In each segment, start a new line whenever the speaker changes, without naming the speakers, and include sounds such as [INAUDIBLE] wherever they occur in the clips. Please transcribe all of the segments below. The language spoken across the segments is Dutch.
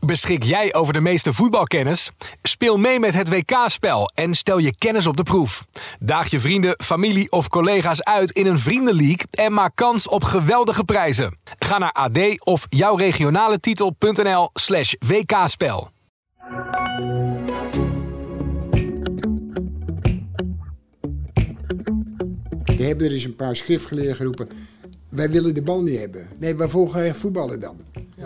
Beschik jij over de meeste voetbalkennis? Speel mee met het WK-spel en stel je kennis op de proef. Daag je vrienden, familie of collega's uit in een vriendenleague en maak kans op geweldige prijzen. Ga naar ad of jouwregionaletitel.nl slash WK-spel.
Die hebben er eens een paar schriftgeleerden geroepen. Wij willen de bal niet hebben. Nee, waarvoor ga je voetballen dan?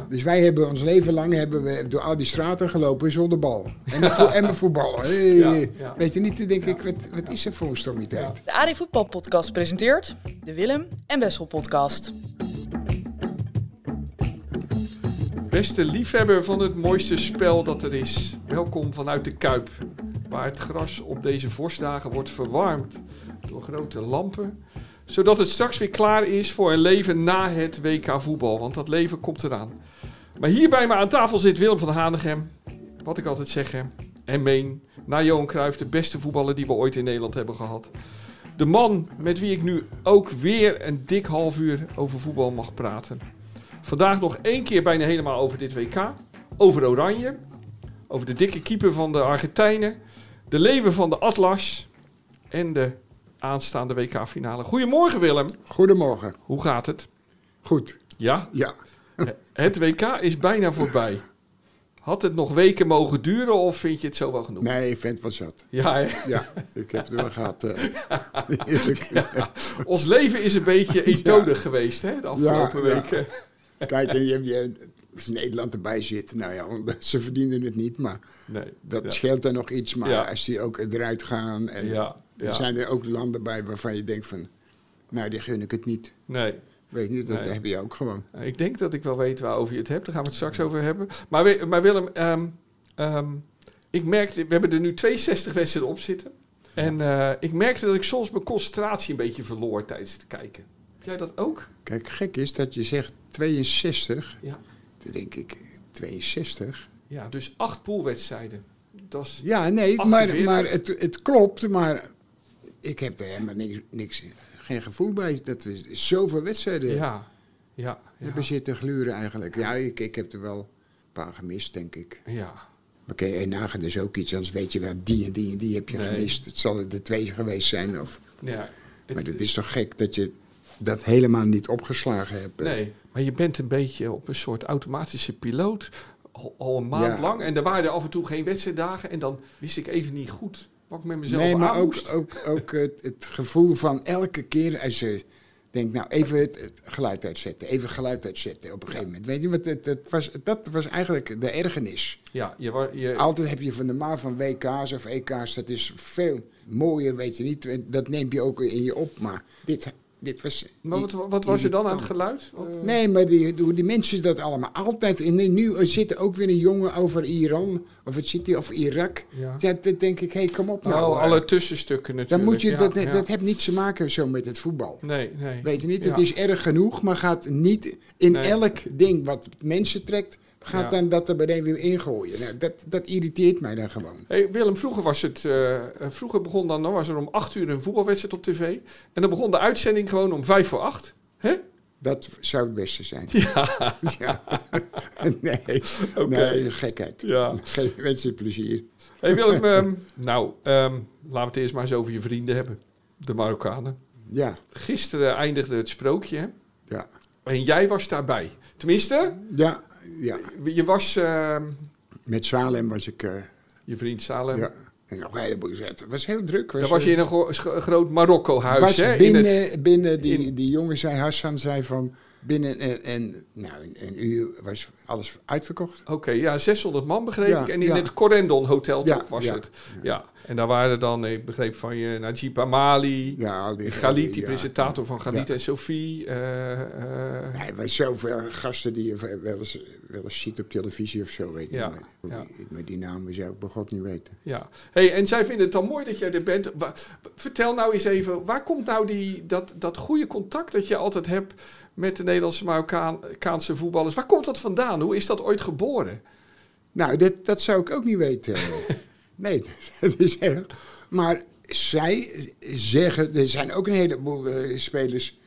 Dus wij hebben ons leven lang hebben we door al die straten gelopen zonder bal. En we, vo en we voetballen. Hey,
ja.
Weet je niet, dan denk ik, wat, wat is er voor een stomiteit?
De AD Voetbal Podcast presenteert de Willem en Wessel Podcast.
Beste liefhebber van het mooiste spel dat er is, welkom vanuit de Kuip, waar het gras op deze vorstdagen wordt verwarmd door grote lampen, zodat het straks weer klaar is voor een leven na het WK voetbal, want dat leven komt eraan. Maar hier bij me aan tafel zit Willem van Hanegem, wat ik altijd zeg hè, en meen, na Johan Cruijff de beste voetballer die we ooit in Nederland hebben gehad. De man met wie ik nu ook weer een dik half uur over voetbal mag praten. Vandaag nog één keer bijna helemaal over dit WK. Over Oranje. Over de dikke keeper van de Argentijnen. De leven van de Atlas. En de aanstaande WK-finale. Goedemorgen Willem.
Goedemorgen.
Hoe gaat het?
Goed.
Ja,
Ja.
het WK is bijna voorbij. Had het nog weken mogen duren of vind je het zo wel genoeg?
Nee, ik vind het wel zat.
Ja, hè? [LAUGHS]
Ja, ik heb het wel gehad. eh. [LAUGHS] Eerlijk gezegd.
ons leven is een
[LAUGHS]
beetje eentonig geweest hè, de afgelopen
ja.
weken.
Kijk, en je, je, als Nederland erbij zit, nou ja, [LAUGHS] ze verdienen het niet, maar
Nee,
dat
ja.
scheelt er nog iets. Maar
Ja.
als die ook eruit gaan en
Ja, ja.
er zijn er ook landen bij waarvan je denkt van, nou, die gun ik het niet.
Nee,
Weet niet, dat
Nee.
heb je ook gewoon.
Nou, Ik denk dat ik wel weet waarover je het hebt. Daar gaan we het straks over hebben. Maar, Wi- maar Willem, ehm, ehm, ik merkte, we hebben er nu 62 wedstrijden op zitten. En eh, ik merkte dat ik soms mijn concentratie een beetje verloor tijdens het kijken. Heb jij dat ook?
Kijk, gek is dat je zegt 62.
Ja.
Toen denk ik, 62?
Ja, dus acht poolwedstrijden. Dat is,
Ja, nee, maar,
48.
maar het, het klopt, maar ik heb er helemaal niks, niks, geen gevoel bij dat we zoveel wedstrijden
ja, ja, ja,
hebben zitten gluren eigenlijk. Ja, ik, ik heb er wel een paar gemist, denk ik.
ja.
Maar kun je één nagaan, dus ook iets, anders weet je wel, die en die en die heb je
Nee.
gemist. Het zal er de twee geweest zijn. Of,
ja. Het-
maar het is toch gek dat je dat helemaal niet opgeslagen hebt.
Nee, maar je bent een beetje op een soort automatische piloot. Al, al een maand
Ja.
lang. En er waren er af en toe geen wedstrijddagen. En dan wist ik even niet goed wat ik met mezelf
Nee, maar
aan
ook,
moest.
ook, ook het, het gevoel van elke keer als je denkt, nou even het, het geluid uitzetten, even geluid uitzetten op een gegeven moment. Weet je, want het, het was, dat was eigenlijk de ergernis.
Ja, je, wa- je,
Altijd heb je van de maar van WK's of EK's, dat is veel mooier, weet je niet. En Dat neem je ook in je op, maar dit, dit was...
Maar wat, wat was er dan aan het geluid? Wat-
Nee, maar die, hoe die mensen dat allemaal altijd. En nu zit er ook weer een jongen over Iran, of het zit hier, of Irak.
Ja.
Ja. Dat, dat denk ik, hé, kom op
nou,
nou. eh.
alle tussenstukken natuurlijk.
Dan moet je,
Ja,
dat,
ja.
dat heeft niets te maken zo met het voetbal.
Nee, nee.
Weet je niet,
Ja.
het is erg genoeg, maar gaat niet in
Nee.
elk ding wat mensen trekt, gaat
Ja.
dan dat er meteen weer ingooien. Nou, dat, dat irriteert mij dan gewoon.
Hey, Willem, vroeger was het. eh, eh, vroeger begon dan, dan was er om 8 uur een voetbalwedstrijd op tv. En dan begon de uitzending gewoon om 5 voor 8. Hè?
Dat zou het beste zijn. Ja. [LAUGHS] nee.
Oké.
nee, gekheid.
Ja.
Geen mensen plezier. [LAUGHS]
Hey, Willem, ehm, nou, ehm, laten we het eerst maar eens over je vrienden hebben. De Marokkanen.
Ja,
Gisteren eindigde het sprookje. hè?
ja.
En jij was daarbij. Tenminste,
Ja, ja.
je was ehm,
Met Salem was ik... eh,
je vriend Salem.
ja. En nog een heleboel gezet. Het was heel druk.
Dan was je in een gro- scho- groot Marokko-huis.
was
hè? in
binnen,
het,
binnen die,
in-
die jongen zei, Hassan zei van, binnen en, en, nou, een, een uur was alles uitverkocht.
Oké, ja, 600 man begreep
Ja,
ik. En in
ja.
het Corendon Hotel
Ja,
toch was
ja,
het. Ja. En daar waren dan, ik begreep van je, Najib Amali,
Ja, al die
Galit, die
ja.
presentator van Galit
Ja.
en Sophie. eh, eh,
Nee, er waren zoveel gasten die je wel eens, wel eens ziet op televisie of zo, weet je.
Ja,
Maar, hoe
ja.
die- maar die namen zou ik bij God niet weten.
ja. Hey, en zij vinden het dan mooi dat jij er bent. Wa- vertel nou eens even, waar komt nou die, dat, dat goede contact dat je altijd hebt met de Nederlandse Marokkaanse voetballers? Waar komt dat vandaan? Hoe is dat ooit geboren?
Nou, dat, dat zou ik ook niet
[LAUGHS]
weten. nee, [LAUGHS] dat is erg. Maar zij zeggen, er zijn ook een heleboel eh, spelers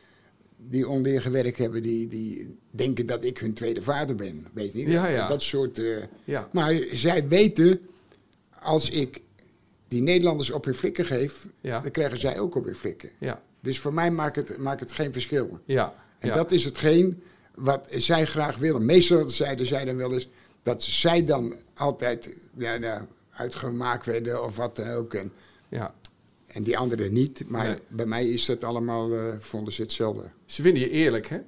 die onder je gewerkt hebben, die, die denken dat ik hun tweede vader ben. Weet je niet?
Ja, ja.
Dat soort. eh,
Ja.
Maar zij weten, als ik die Nederlanders op hun flikken geef,
Ja.
dan krijgen zij ook op hun flikken.
Ja,
Dus voor mij maakt het, maakt het geen verschil.
ja.
En
ja.
dat is hetgeen wat zij graag willen. Meestal zeiden zij dan wel eens dat zij dan altijd ja, nou, uitgemaakt werden of wat dan ook. En,
ja.
en die anderen niet. Maar
Nee.
bij mij is dat allemaal, eh, vonden ze hetzelfde.
Ze vinden je eerlijk, hè?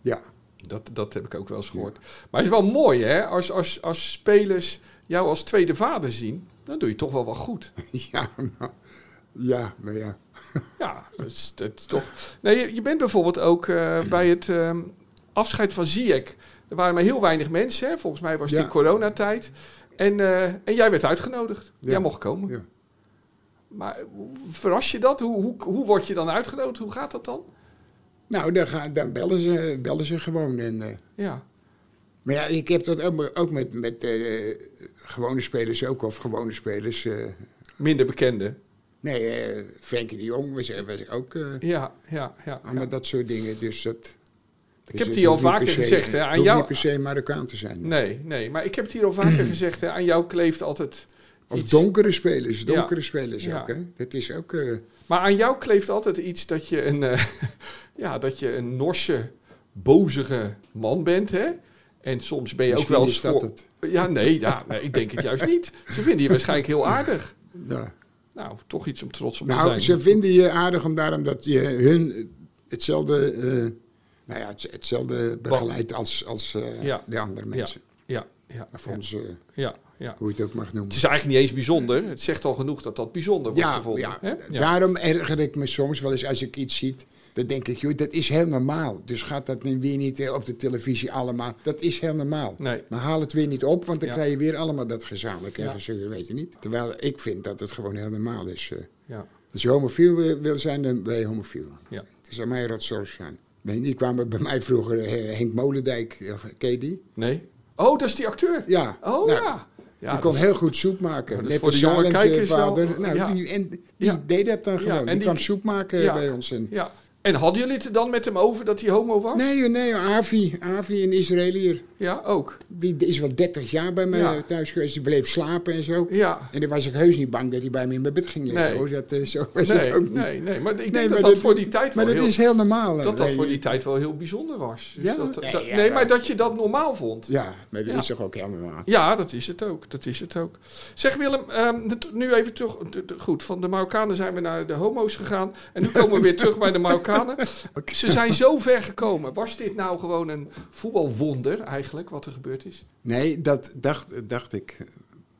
Ja. [LAUGHS]
Dat, dat heb ik ook wel eens gehoord. Maar het is wel mooi, hè? Als, als, als spelers jou als tweede vader zien, dan doe je toch wel wat goed.
ja, nou, ja, maar ja.
Ja, dat is, dat is toch. Nee, je, je bent bijvoorbeeld
[CLEARS THROAT]
ook eh, bij het ehm, afscheid van Ziek. Er waren maar heel weinig mensen, hè? Volgens mij was het
Ja.
in coronatijd. En, eh, en jij werd uitgenodigd.
Ja.
Jij mocht komen.
ja.
Maar hoe- verras je dat? Hoe, hoe, hoe word je dan uitgenodigd? Hoe gaat dat dan?
Nou, dan, gaan, dan bellen, ze, bellen ze gewoon. En, eh,
Ja,
maar ja, ik heb dat ook, maar ook met, met eh, gewone spelers ook. Of gewone spelers. eh,
minder bekende.
nee, eh, Frenkie de Jong was, was ook... eh,
Ja, ja, ja.
Allemaal dat soort dingen. Dus dat, dus
Ik heb het hier al vaker gezegd. Hè, aan jou,
niet per se Marokkaan te zijn.
Nee, nee, maar ik heb het hier al
[CLEARS THROAT]
vaker gezegd. Hè, aan jou kleeft altijd
Of
iets.
donkere spelers,
Ja.
donkere spelers
Ja.
ook. Hè? Dat is ook... eh,
Maar aan jou kleeft altijd iets dat je een, eh, [LAUGHS] ja, dat je een norse, bozige man bent, hè? En soms ben je
Misschien
ook wel eens
is dat het.
Ja, nee, ja, nee, ik denk het juist niet. Ze vinden je waarschijnlijk heel aardig.
ja.
Nou, toch iets om trots op te
Nou,
zijn.
ze vinden je aardig om daarom dat je hun hetzelfde... eh, nou ja, het- hetzelfde begeleid als, als eh,
Ja.
de andere mensen.
Ja, ja,
Of
ja,
ons, eh,
ja, ja.
hoe je het ook mag
Het
noemen.
is eigenlijk niet eens bijzonder. Het zegt al genoeg dat dat bijzonder wordt
Ja,
gevonden.
ja.
hè?
daarom erger ik me soms wel eens als ik iets ziet. Dan denk ik, joh, dat is heel normaal. Dus gaat dat nu weer niet eh, op de televisie allemaal. Dat is heel normaal.
Nee.
Maar haal het weer niet op, want dan
Ja.
krijg je weer allemaal dat gezamenlijke
Ja.
gezeur, weet je niet. Terwijl ik vind dat het gewoon heel normaal is. eh.
ja,
Als je homofiel wi- wil zijn, dan ben je homofiel.
ja.
Het zou mij rotzorg zijn. Nee, Die kwamen bij mij vroeger, eh, Henk Molendijk, of, ken je die?
Nee. Oh, dat is die acteur.
Ja.
Oh
Nou,
ja. ja. dus-
die
dat
kon heel goed soep maken.
dat is
Net
voor
als
de jonge
Salem zijn
kijkers wel-
vader. Nou,
ja.
die, en, die
Ja.
deed dat dan
Ja,
gewoon.
en
die,
die-
kwam soep maken eh,
Ja.
bij ons. En,
Ja. En hadden jullie het er dan met hem over dat hij homo was?
Nee, joh, nee, joh, Avi, Avi, een Israëliër.
Ja, ook.
Die die is wel 30 jaar bij mij
Ja.
thuis geweest. Die bleef slapen en zo.
Ja.
En dan was ik heus niet bang dat hij bij me in mijn bed ging liggen.
Nee.
Hoor. Dat, eh, zo was het
Nee,
ook niet.
nee, nee. Maar ik denk
Nee,
dat
maar
dat
dat-
voor die tijd
Maar
wel
dat
heel,
is heel normaal. eh, hè.
dat dat
Wij-
voor die tijd wel heel bijzonder was. Dus
Ja?
dat, dat-
Nee,
nee,
ja,
maar
maar-
dat je dat normaal vond. Ja.
Ja, maar dat
Ja.
is toch ook heel normaal.
dat is het ook. Dat is het ook. Zeg Willem, ehm, t- nu even terug. t- t- Goed, van de Marokkanen zijn we naar de homo's gegaan. En nu komen we weer terug bij de Marokkanen.
[LAUGHS]
Ze zijn zo ver gekomen. Was dit nou gewoon een voetbalwonder eigenlijk, wat er gebeurd is?
Nee, dat dacht, dacht ik. Ik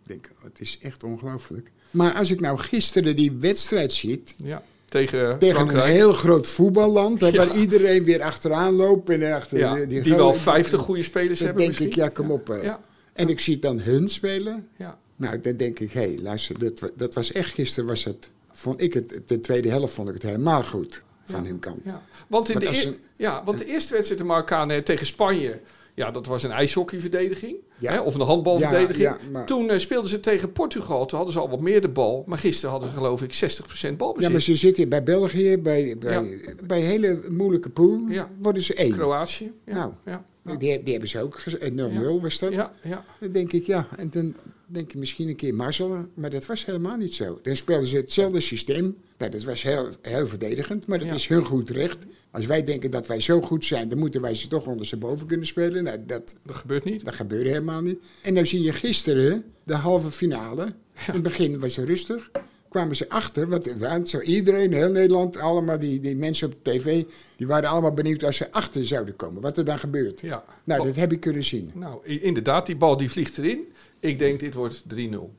denk, oh, het is echt ongelooflijk. Maar als ik nou gisteren die wedstrijd ziet...
Ja, tegen,
Tegen een
Frankrijk.
heel groot voetballand, hè,
Ja.
waar iedereen weer achteraan loopt. En achter
Ja,
die,
die,
goal-
wel 50 goede spelers
Dan
hebben
denk ik,
misschien.
ja, kom op. hè.
Ja,
En ik zie dan hun spelen.
ja,
Nou, dan denk ik, hé, luister, dat, wa- dat was echt gisteren was het, vond ik het, de tweede helft vond ik het helemaal goed van hun kant.
ja. Want, in
Maar
de,
dat is
eer-
een-
ja, want de eerste wedstrijd de Marokkanen tegen Spanje... Ja, dat was een ijshockeyverdediging.
Ja.
Hè, of een handbalverdediging.
Ja, ja, maar-
Toen eh, speelden ze tegen Portugal. Toen hadden ze al wat meer de bal. Maar gisteren hadden ze geloof ik 60%
Ja, maar
balbezit.
ze zitten bij België, bij, bij, bij een hele moeilijke pool,
Ja.
worden ze één.
Kroatië. Ja,
Nou.
ja,
Die, die hebben ze ook, gez- eh, 0-0 was dat.
ja, ja.
Dan denk ik, ja, en dan denk ik misschien een keer mazzel, maar dat was helemaal niet zo. Dan speelden ze hetzelfde systeem, nou, dat was heel, heel verdedigend, maar dat
Ja.
is heel goed recht. Als wij denken dat wij zo goed zijn, dan moeten wij ze toch ondersteboven kunnen spelen. Nou, dat,
Dat gebeurt niet.
Dat gebeurde helemaal niet. En dan zie je gisteren de halve finale. In het begin was ze rustig. Kwamen ze achter, want want zo iedereen, heel Nederland, allemaal die, die mensen op de tv, die waren allemaal benieuwd als ze achter zouden komen, wat er dan gebeurt.
Ja.
Nou, dat heb ik kunnen zien.
Nou, i- inderdaad, die bal die vliegt erin. Ik denk, dit wordt 3-0.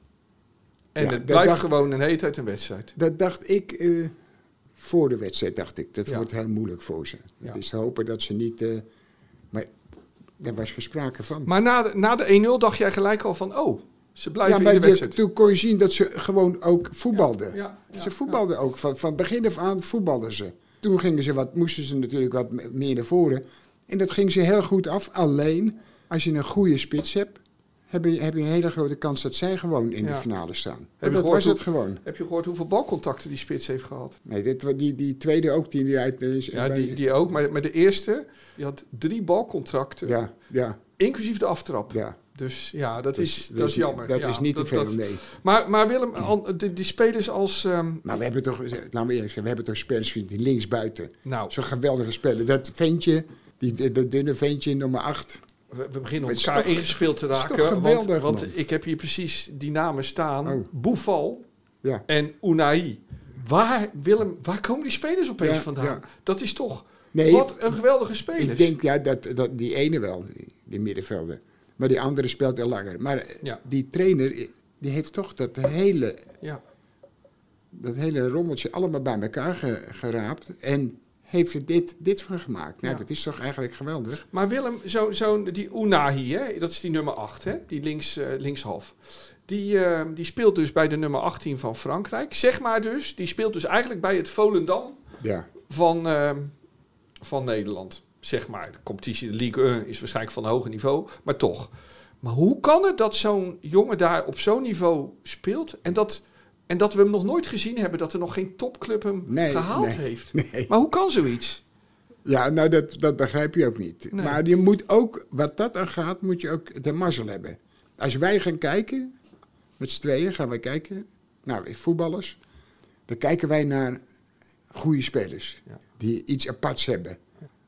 En
Ja,
het
dat
blijft
dacht-
gewoon een heet uit een wedstrijd.
Dat dacht ik eh, voor de wedstrijd, dacht ik. Dat
Ja.
wordt heel moeilijk voor ze.
Ja.
Dus hopen dat ze niet... eh, maar daar was geen sprake van.
Maar na de, na de 1-0 dacht jij gelijk al van, oh, ze
ja,
blijven
maar
in de
je-
wedstrijd.
toen kon je zien dat ze gewoon ook voetbalden.
Ja, ja,
ze voetbalden ook. Van, van begin af aan voetbalden ze. Toen gingen ze wat, moesten ze natuurlijk wat me- meer naar voren. En dat ging ze heel goed af. Alleen, als je een goede spits hebt, heb je, heb je een hele grote kans dat zij gewoon in
Ja.
de finale staan.
je
Maar dat
gehoord
was
hoe-
het gewoon.
Heb je gehoord hoeveel balcontacten die spits heeft gehad?
Nee, dit, wa- die, die tweede ook, die, die uit... eh,
Ja,
bij-
die, die ook. Maar, maar de eerste, die had drie balcontracten,
ja, ja,
inclusief de aftrap.
ja.
Dus ja, dat,
Dus
is, dat is jammer.
Dat
Ja,
is niet
dat-
te veel,
dat-
nee.
Maar, maar Willem, an- die, die spelers als... ehm,
Maar we hebben toch, laten we eerlijk zijn, we hebben toch spelers die linksbuiten.
nou,
Zo'n geweldige speler. Dat ventje, die, die- dat dunne ventje, nummer 8.
we, we beginnen
Het is
elkaar
toch-
ingespeeld te
het is
raken.
toch geweldig,
want
man.
want ik heb hier precies die namen staan.
Oh.
Boeval
Ja.
en Unai. Waar, Willem, waar komen die spelers opeens
Ja,
vandaan?
ja.
Dat is toch...
Nee,
wat een geweldige spelers.
ik denk ja, dat, dat die ene wel, die, die middenvelder. Maar die andere speelt al langer. Maar eh,
Ja.
die trainer, eh, die heeft toch dat hele,
Ja,
dat hele rommeltje allemaal bij elkaar ge- geraapt. En heeft er dit, dit van gemaakt. Nou,
Ja.
dat is toch eigenlijk geweldig.
Maar Willem, zo, zo, die Unahi, hè, dat is die nummer 8, hè, die links, eh, linkshalf. Die, eh, die speelt dus bij de nummer 18 van Frankrijk. Zeg maar dus, die speelt dus eigenlijk bij het Volendam
Ja,
van, eh, van Nederland. Zeg maar, de competitie, de League 1 is waarschijnlijk van hoger niveau, maar toch. Maar hoe kan het dat zo'n jongen daar op zo'n niveau speelt en dat, en dat we hem nog nooit gezien hebben dat er nog geen topclub hem
Nee,
gehaald
nee,
heeft?
nee.
Maar hoe kan zoiets?
ja nou dat, dat begrijp je ook niet.
Nee.
Maar je moet ook, wat dat aan gaat, moet je ook de mazzel hebben. Als wij gaan kijken, met z'n tweeën gaan wij kijken, nou, voetballers. Dan kijken wij naar goede spelers.
Ja.
Die iets aparts hebben.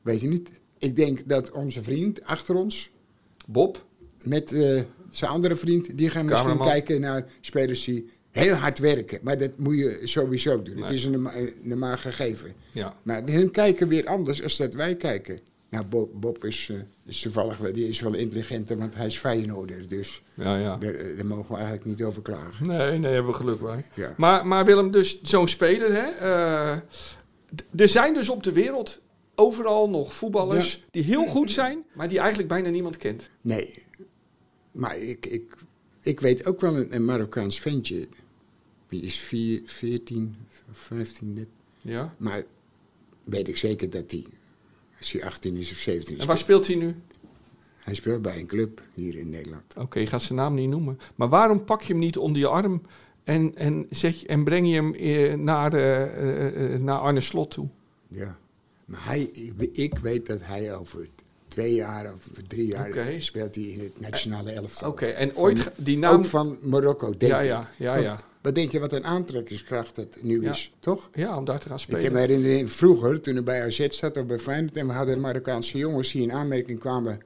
Weet je niet? Ik denk dat onze vriend achter ons,
Bob,
met eh, zijn andere vriend, die gaan misschien
Cameraman.
kijken naar spelers die heel hard werken. Maar dat moet je sowieso doen. Het
Nee.
is een norma- een normaal gegeven.
ja.
Maar Nou, hun kijken weer anders als dat wij kijken. Nou, Bob, Bob is, eh, is toevallig wel, die is wel intelligenter, want hij is Feyenoorder. Dus
Ja, ja.
daar, eh, daar mogen we eigenlijk niet over klagen.
Nee, nee, hebben we geluk bij.
Ja.
Maar, maar Willem, dus zo'n speler, hè? eh, d- er zijn dus op de wereld overal nog voetballers die heel goed zijn, maar die eigenlijk bijna niemand kent.
Nee. Maar ik, ik, ik weet ook wel een, een Marokkaans ventje. Die is vier, 14 of 15 net.
Ja.
Maar weet ik zeker dat die, als hij 18 is of 17 is,
En waar speelt hij nu?
hij speelt bij een club hier in Nederland.
Oké, je gaat zijn naam niet noemen. Maar waarom pak je hem niet onder je arm en, en, zet je, en breng je hem eh, naar, eh, eh, eh, naar Arne Slot toe?
Ja. Maar hij, ik, we- ik weet dat hij over twee jaar of drie jaar
Oké.
speelt hij in het nationale elftal.
Oké, en ooit ga- die naam...
Ook van Marokko, denk
ja,
ik.
ja, ja,
Want
ja.
Wat denk je wat een aantrekkingskracht dat nu
Ja.
is, toch?
Ja, om daar te gaan
Ik heb
spelen.
me herinnering vroeger, toen ik bij AZ zat of bij Feyenoord... en we hadden Marokkaanse jongens die in aanmerking kwamen...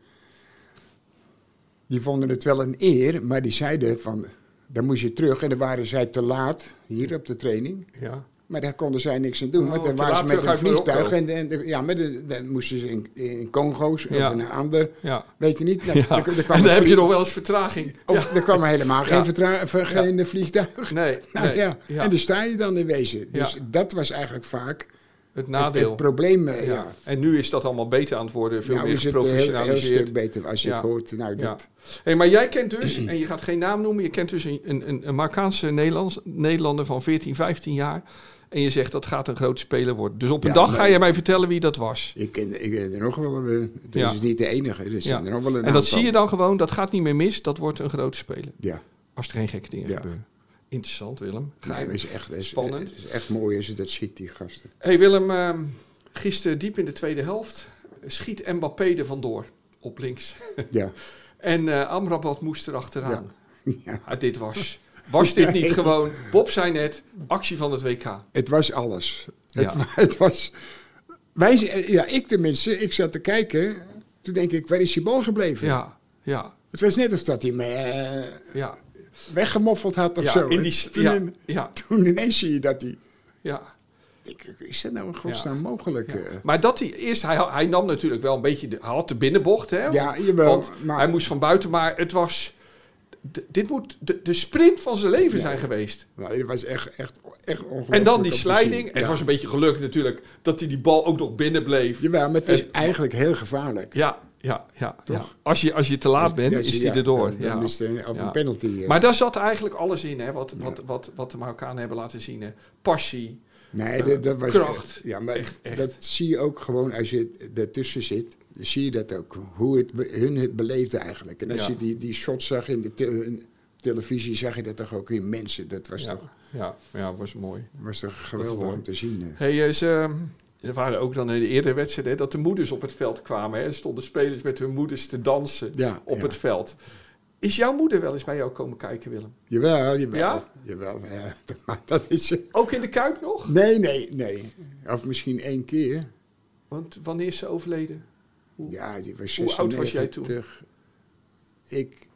die vonden het wel een eer, maar die zeiden van... dan moest je terug en dan waren zij te laat hier op de training...
Ja.
Maar daar konden zij niks aan doen,
Oh,
want dan
te
waren ze
laat
met
terug
een
uit Marokko.
vliegtuig en, en- ja, met een- dan moesten ze in, in Congo's
Ja.
of in een ander,
Ja.
weet je niet. Nou,
Ja.
dan- dan
[LAUGHS] en
kwam
dan
het
heb je
vlieg-
nog wel eens vertraging.
Of er kwam helemaal geen,
Ja.
vertra- ver-
Ja.
geen eh, vliegtuig.
Nee,
[LAUGHS] Nou,
nee.
ja.
Ja.
En daar sta je dan in wezen. Dus
Ja.
dat was eigenlijk vaak het-
het
het,
nadeel.
probleem. eh,
ja.
ja.
En nu is dat allemaal beter aan het worden, veel
Nou
meer
is het een heel, heel
geprofessionaliseerd.
stuk beter als je
Ja.
het hoort. Nou,
Ja.
dat,
Hey, maar jij kent dus, en je gaat geen naam noemen, je kent dus een, een, een- een Marokkaanse Nederlands, Nederlander van 14, 15 jaar. En je zegt dat gaat een groot speler worden. Dus op een
Ja,
dag
maar-
ga je mij vertellen wie dat was.
ik, ken, ik ken er nog wel. eh, Dus
Ja.
is niet de enige. Er zijn er nog wel een
En dat
aantal.
zie je dan gewoon, dat gaat niet meer mis, dat wordt een groot speler.
Ja.
Als er geen gekke dingen
Ja.
gebeuren. Interessant, Willem.
Nee, maar het is echt, het is,
Spannend.
het is echt mooi als je dat ziet, die gasten.
Hey Willem, ehm, gisteren diep in de tweede helft schiet Mbappé er vandoor op links. [LAUGHS]
Ja.
En eh Amrabat moest erachteraan.
[LAUGHS] ja.
Ah, dit was. Was
[LAUGHS]
dit niet gewoon? Bob zei net, actie van het WK.
Het was alles.
Ja.
Het, wa- [LAUGHS] het was. Wij, z- eh, ja, ik tenminste, ik zat te kijken. Toen denk ik, waar is die bal gebleven?
Ja, ja,
Het was net of dat hij me eh,
ja.
weggemoffeld had of
ja,
zo.
in die s-
toen,
ja,
in- [LAUGHS]
ja,
toen ineens zie je dat hij.
ja,
Ik, is dat nou in godsnaam mogelijk? eh?
ja. Maar dat hij eerst, hij, hij nam natuurlijk wel een beetje, de, hij had de binnenbocht, hè?
Ja, jawel,
want
maar-
hij moest van buiten, maar het was, d- dit moet de, de sprint van zijn leven zijn geweest.
Nou, dat was echt, echt, echt ongelooflijk.
En dan die
om te
slijding.
zien.
En het
Ja.
was een beetje geluk natuurlijk dat hij die bal ook nog binnen bleef.
Jawel, maar het is
En-
eigenlijk heel gevaarlijk.
Ja, ja, ja. ja.
Toch?
Als, je, als je te laat bent,
Ja,
is
zie-
hij
ja,
erdoor.
Dan, dan
ja.
is het een, of
Ja.
een penalty. eh.
Maar daar zat eigenlijk alles in, hè, wat, wat, wat, wat de Marokkanen hebben laten zien. Hè. Passie.
nee,
eh,
dat, dat was
kracht.
echt- Ja, maar
Echt, echt.
dat zie je ook gewoon als je ertussen zit. Zie je dat ook. Hoe het, be- hun het beleefde eigenlijk. En als
Ja.
je die, die shots zag in de te- in televisie, zag je dat toch ook in mensen. Dat was,
Ja,
toch,
ja, ja, was mooi.
was toch geweldig
mooi.
om te zien. eh.
Hey, eh, ze, ehm, er waren ook dan in de eerdere wedstrijden hè, dat de moeders op het veld kwamen. Hè. Er stonden spelers met hun moeders te dansen
Ja,
op
ja.
het veld. Is jouw moeder wel eens bij jou komen kijken, Willem?
Jawel, jawel.
Ja?
Jawel, ja. [LAUGHS] Maar dat is... eh,
Ook in de Kuip nog?
Nee, nee, nee. Of misschien één keer.
Want wanneer is ze overleden?
Ja, die was
Hoe oud was jij toen?
96. Ik...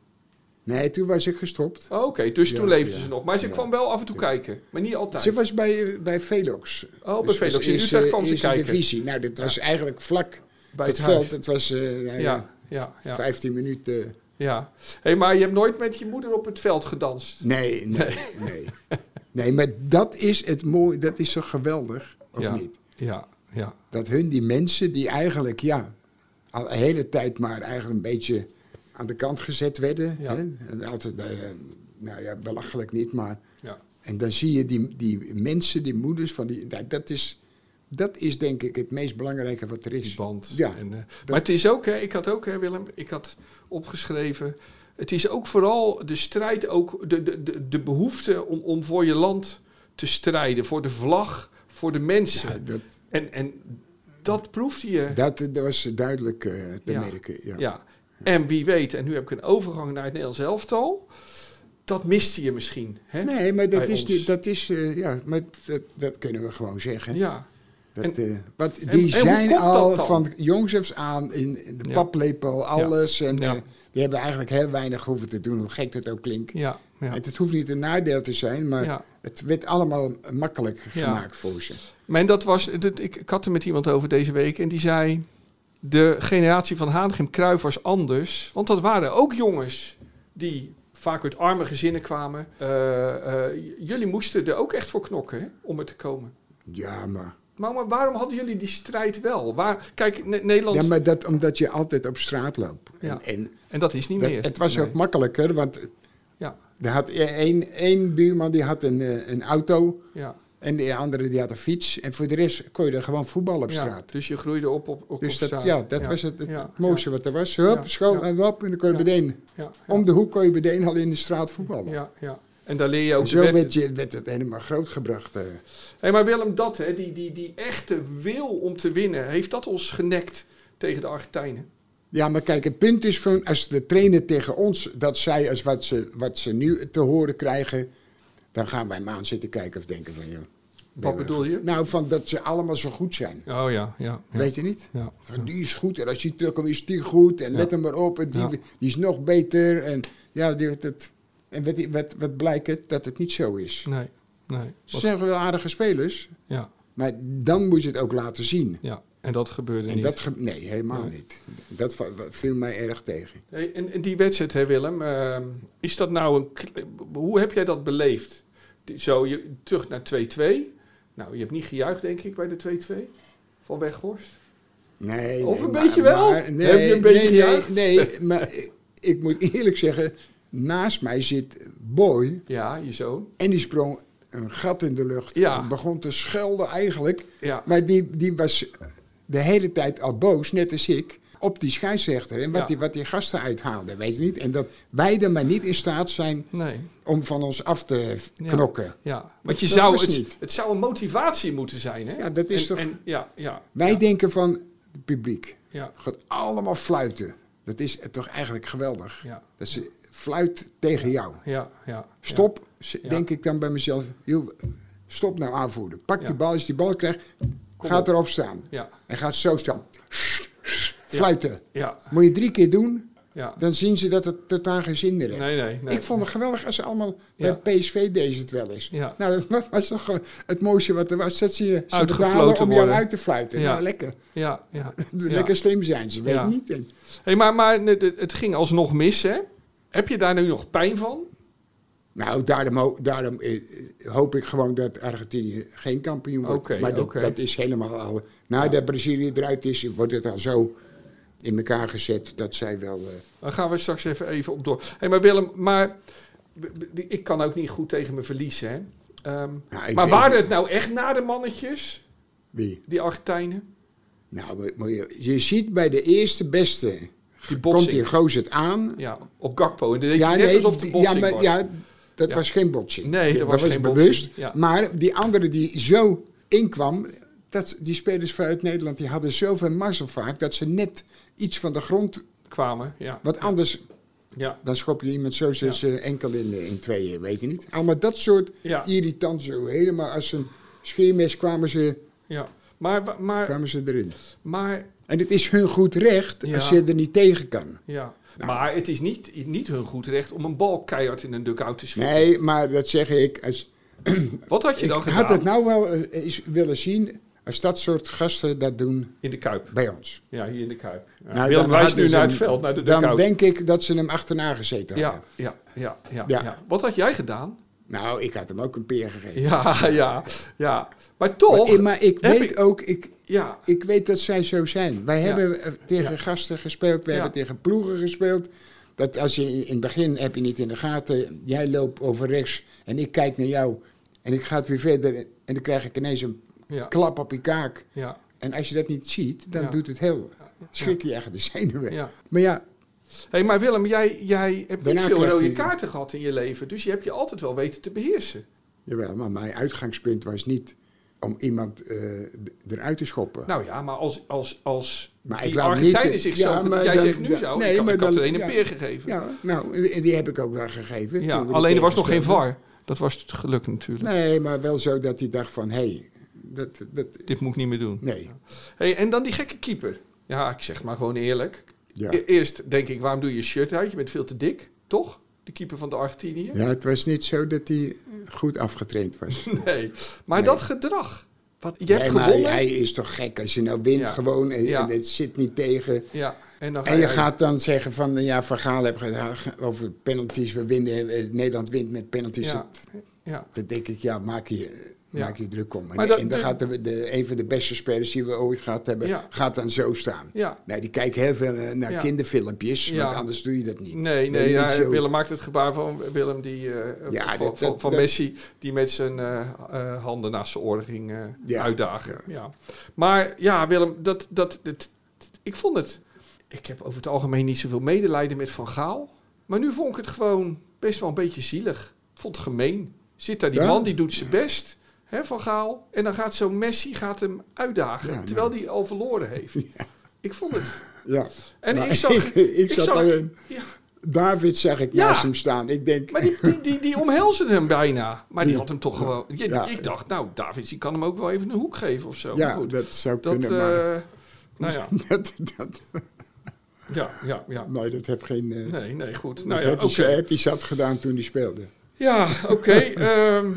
Nee, toen was ik gestopt.
Oh, Oké, dus
Ja,
toen leefde
ja,
ze nog. Maar ze
ja.
kwam wel af en toe kijken, maar niet altijd.
Ze was bij, eh, bij Velox. Dus
Oh, bij
was
Velox. In
eerste-
Utrecht kwam ze
eerste
kijken.
divisie. Nou, dat was eigenlijk vlak
bij
het
het huis.
veld. Het was eh, nou ja,
Ja, ja, ja.
15 minuten.
Ja. Hey, maar je hebt nooit met je moeder op het veld gedanst.
Nee, nee, nee. Nee, maar dat is het mooie. Dat is toch geweldig, of
ja.
niet?
Ja, ja.
Dat hun, die mensen die eigenlijk, ja, al de hele tijd maar eigenlijk een beetje aan de kant gezet werden.
Ja.
Hè? En altijd, eh, nou ja, belachelijk niet, maar...
ja.
En dan zie je die, die mensen, die moeders van die... nou, dat, is, dat is denk ik het meest belangrijke wat er
Die
is.
band.
Dus, Ja.
En, eh, maar het is ook, hè, ik had ook, hè, Willem, ik had opgeschreven. Het is ook vooral de strijd, ook de, de, de, de behoefte om, om voor je land te strijden. Voor de vlag, voor de mensen.
Ja, dat,
en, en dat proefde je.
dat, dat was duidelijk eh, te
Ja.
merken. Ja.
ja. En wie weet, en nu heb ik een overgang naar het Nederlands elftal. Dat miste je misschien. Hè?
Nee, maar dat
Bij
is,
ons.
die- dat is eh, ja, maar dat, dat kunnen we gewoon zeggen.
Ja.
Dat, eh want die
en hoe
zijn
komt dat
al
dan?
van jongs af aan in, in de
Ja.
paplepel, alles. En
Ja.
eh, die hebben eigenlijk heel weinig hoeven te doen, hoe gek dat ook klinkt.
Ja, ja.
Het, het hoeft niet een nadeel te zijn, maar
Ja.
het werd allemaal makkelijk
Ja.
gemaakt voor ze.
Maar en dat was, dat, ik, ik had er met iemand over deze week en die zei... de generatie van Haanegem Kruijf was anders. Want dat waren ook jongens die vaak uit arme gezinnen kwamen. Eh, eh, j- jullie moesten er ook echt voor knokken hè, om er te komen.
Ja, maar...
Maar, maar waarom hadden jullie die strijd wel? Waar, kijk, Ne- Nederland...
Ja, maar dat omdat je altijd op straat loopt. En,
Ja.
en
En dat is niet
dat-
meer.
het was
Nee.
ook makkelijker, want
Ja,
er had e- één, één buurman die had een, eh, een auto
ja.
en de andere die had een fiets. En voor de rest kon je er gewoon voetballen op
ja.
straat.
Dus je groeide op op, op
Dus
op
dat,
straat.
ja, dat was het, het,
ja,
het mooiste wat er was. Hup,
Ja,
school
ja.
en wap. En dan kon je
Ja.
meteen,
Ja, ja,
om de hoek kon je meteen al in de straat voetballen.
ja, ja. En daar leer je ook
En zo
de weg-
werd, je, werd het helemaal grootgebracht. eh.
Hé, maar Willem, dat, hè, die, die, die echte wil om te winnen, heeft dat ons genekt tegen de Argentijnen?
Ja, maar kijk, het punt is van als de trainer tegen ons dat zij als wat ze, wat ze nu te horen krijgen, dan gaan wij maar aan zitten kijken of denken van joh. ben
Wat
we-
bedoel je?
Nou, van dat ze allemaal zo goed zijn.
Oh ja, ja. ja.
Weet je niet?
ja.
Van, Die is goed en als die terugkomt is die goed en let hem maar op en die,
Ja.
die is nog beter. En, ja, die, dat, en wat, wat, wat blijkt het? Dat het niet zo is.
Nee, nee.
Ze
Wat-
zijn wel aardige spelers,
ja,
maar dan moet je het ook laten zien.
ja. En dat gebeurde
En
niet.
dat ge- nee, helemaal
Nee.
niet. Dat va- viel mij erg tegen.
Hey, en, en die wedstrijd, hè, Willem, ehm, is dat nou een... kle- Hoe heb jij dat beleefd? Die- Zo, je, terug naar 2-2. Nou, je hebt niet gejuicht, denk ik, bij de 2-2 van Weghorst.
Nee.
Of
nee,
een beetje wel?
nee,
Heb je een beetje
nee,
gejuicht?
nee, nee, maar [LAUGHS] ik- ik moet eerlijk zeggen, naast mij zit Boy
Ja, je zoon.
en die sprong een gat in de lucht
Ja.
en begon te schelden eigenlijk.
Ja.
Maar die, die was de hele tijd al boos, net als ik, op die scheidsrechter en wat,
Ja.
die, wat die gasten uithaalden, weet je niet? En dat wij er maar niet in staat zijn
Nee.
om van ons af te
Ja.
knokken.
Ja, want je
dat
zou,
was
het,
niet.
het zou een motivatie moeten zijn, hè?
Ja, dat is
En-
toch-
En, ja, ja,
Wij
ja,
denken van het publiek
ja,
gaat allemaal fluiten. Dat is toch eigenlijk geweldig.
ja,
Dat ze fluit tegen jou.
ja, ja.
Stop, z-
Ja.
denk ik dan bij mezelf. joh, Stop nou aanvoeren. Pak
Ja.
die bal, als je die bal krijgt,
Kom
gaat
op.
erop staan.
Ja,
En gaat zo staan. Fluiten.
ja,
Moet je drie keer doen,
ja.
dan zien ze dat het totaal geen zin meer heeft.
Nee, nee, nee.
Ik vond het geweldig als ze allemaal
Ja.
bij PSV deze het wel eens.
Ja.
Nou, dat was toch eh, het mooiste wat er was. Dat ze je ze
Uitgefloten
betalen om jou
worden.
uit te fluiten.
Ja.
Nou, lekker.
Ja,
[LAUGHS]
ja. ja.
Lekker slim zijn ze, weet
Ja.
je niet. En-
Hey, maar maar het het ging alsnog mis, hè? Heb je daar nu nog pijn van?
Nou, daarom, ho- daarom eh, hoop ik gewoon dat Argentinië geen kampioen wordt.
Oké,
maar dat,
oké.
dat is helemaal al. Nadat Brazilië eruit is, wordt het al zo in elkaar gezet dat zij wel. eh,
Daar gaan we straks even, even op door. Hé, maar Willem, maar b- b- die- ik kan ook niet goed tegen me verliezen, hè? Ehm,
Nou, ik
maar
weet-
waren het nou echt nare mannetjes,
wie?
die Argentijnen?
Nou, we- moet je, je ziet bij de eerste beste.
Die
Komt die
botsing.
gozer het aan?
Ja, op Gakpo. En dan deed je net alsof de
die-
botsing
ja, maar,
was.
ja, dat
Ja.
was geen botsing.
Nee, dat was geen botsing.
bewust.
Ja.
Maar die andere die zo inkwam, dat, die spelers vanuit Nederland die hadden zoveel mazzel vaak dat ze net iets van de grond.
Kwamen, ja.
Want anders
ja.
dan schop je iemand zo zijn zijn enkel in, eh, in tweeën, weet je niet. Allemaal dat soort
Ja.
irritant zo. Helemaal als een scheermes kwamen ze,
ja. Maar, wa- maar,
kwamen ze erin.
maar,
En het is hun goed recht
Ja.
als je er niet tegen kan.
ja.
Nou.
maar het is niet, niet hun goed recht om een bal keihard in een dugout te schieten.
Nee, maar dat zeg ik als,
Wat had je
Ik
dan
had
gedaan
het nou wel eh, eens willen zien als dat soort gasten dat doen
in de Kuip?
bij ons.
Ja, hier in de Kuip. Ja.
Nou,
Willem
dan
wijst
hadden
nu
ze
naar het
hem-
veld, naar de
Dan
dugout.
denk ik dat ze hem achterna gezeten hadden.
ja, ja, ja, ja, ja,
Ja.
Wat had jij gedaan? [LAUGHS]
Nou, ik had hem ook een peer gegeven.
Ja, ja, ja. Maar toch...
maar, ik- maar ik
heb
weet ook, ik,
Ja,
ik weet dat zij zo zijn. Wij
Ja.
hebben eh, tegen gasten gespeeld, we
Ja.
hebben tegen ploegen gespeeld. Dat als je in het begin heb je niet in de gaten, jij loopt over rechts en ik kijk naar jou en ik ga het weer verder en dan krijg ik ineens een
ja,
klap op je kaak.
ja,
En als je dat niet ziet, dan
Ja.
doet het heel. Schrik je echt de zenuwen.
ja.
Maar ja,
hey, maar Willem, jij, jij hebt
Daarna
niet veel
krijgt
rode
hij-
kaarten gehad in je leven. Dus je hebt je altijd wel weten te beheersen.
jawel, maar mijn uitgangspunt was niet om iemand eh, d- eruit te schoppen.
Nou ja, maar als, als, als
Maar ik
die
laat
Argentijnen
niet-
zichzelf...
Ja, maar
jij
dan-
zegt nu
ja,
zo,
nee,
ik, had-
maar
ik had
dan-
er een
ja.
peer gegeven. Ja,
ja, nou, en die heb ik ook wel gegeven. toen we
alleen er
die
was nog geen
tegenspeelden.
VAR. Dat was het geluk natuurlijk.
Nee, maar wel zo dat hij dacht van, hé, hey, dat, dat...
Dit moet ik niet meer doen.
Nee,
Hey, en dan die gekke keeper. Ja, ik zeg maar gewoon eerlijk.
ja.
E- Eerst denk ik, waarom doe je je shirt uit? Je bent veel te dik, toch? De keeper van de Argentinië.
Ja, het was niet zo dat hij goed afgetraind
[LAUGHS]
was.
Nee, maar
Nee.
dat gedrag. Wat, je hebt
nee, maar
gewonnen.
hij is toch gek als je nou wint
Ja.
gewoon en,
Ja.
en het zit niet tegen.
Ja, en dan ga
En je
jij-
gaat dan zeggen van, ja, Van Gaal heeft gedaan over penalties, we winnen, eh, Nederland wint met penalties.
Ja.
Dat-
Ja,
Dan denk ik, ja, maak je,
Ja.
maak je druk om. En,
Maar dat-
en dan
de-
gaat de, de- een van de beste spelers die we ooit gehad hebben,
Ja.
gaat dan zo staan.
ja.
Nou, die kijkt heel veel eh, naar
Ja.
kinderfilmpjes,
Ja.
want anders doe je dat niet.
Nee,
Ben
nee,
je
ja,
niet zo-
Willem maakt het gebaar van Willem die, eh,
Ja,
van,
dat-
van,
dat-
van
dat-
Messi die met zijn eh, eh, handen naast zijn oren ging eh,
Ja,
uitdagen. Ja. Maar ja, Willem, dat, dat, dat, ik vond het... Ik heb over het algemeen niet zoveel medelijden met Van Gaal. Maar nu vond ik het gewoon best wel een beetje zielig. Ik vond het gemeen. Zit daar die
Ja?
man, die doet zijn best, hè, Van Gaal. En dan gaat zo'n Messi gaat hem uitdagen,
Ja, nee.
terwijl die al verloren
[LAUGHS]
heeft. Ik vond het...
Ja.
En
Maar
ik zag...
[LAUGHS] ik, ik zat
zag-
alleen.
ja.
David zag ik
Ja.
naast hem staan. Ik denk,
Maar die, die, die, die omhelzen hem bijna. Maar die had hem toch gewoon... Ja,
Ja.
Ik dacht, nou, Davids, die kan hem ook wel even een hoek geven of zo. Maar
ja,
Oh, goed,
dat zou
dat...
kunnen,
eh,
maar...
nou ja,
[LAUGHS] dat, dat,
ja, ja,
[LAUGHS]
ja.
nee, dat heb geen... eh,
Nee, nee, goed.
dat
Nou ja,
heb
oké.
hij heb hij zat gedaan toen hij speelde.
Ja, oké. ehm,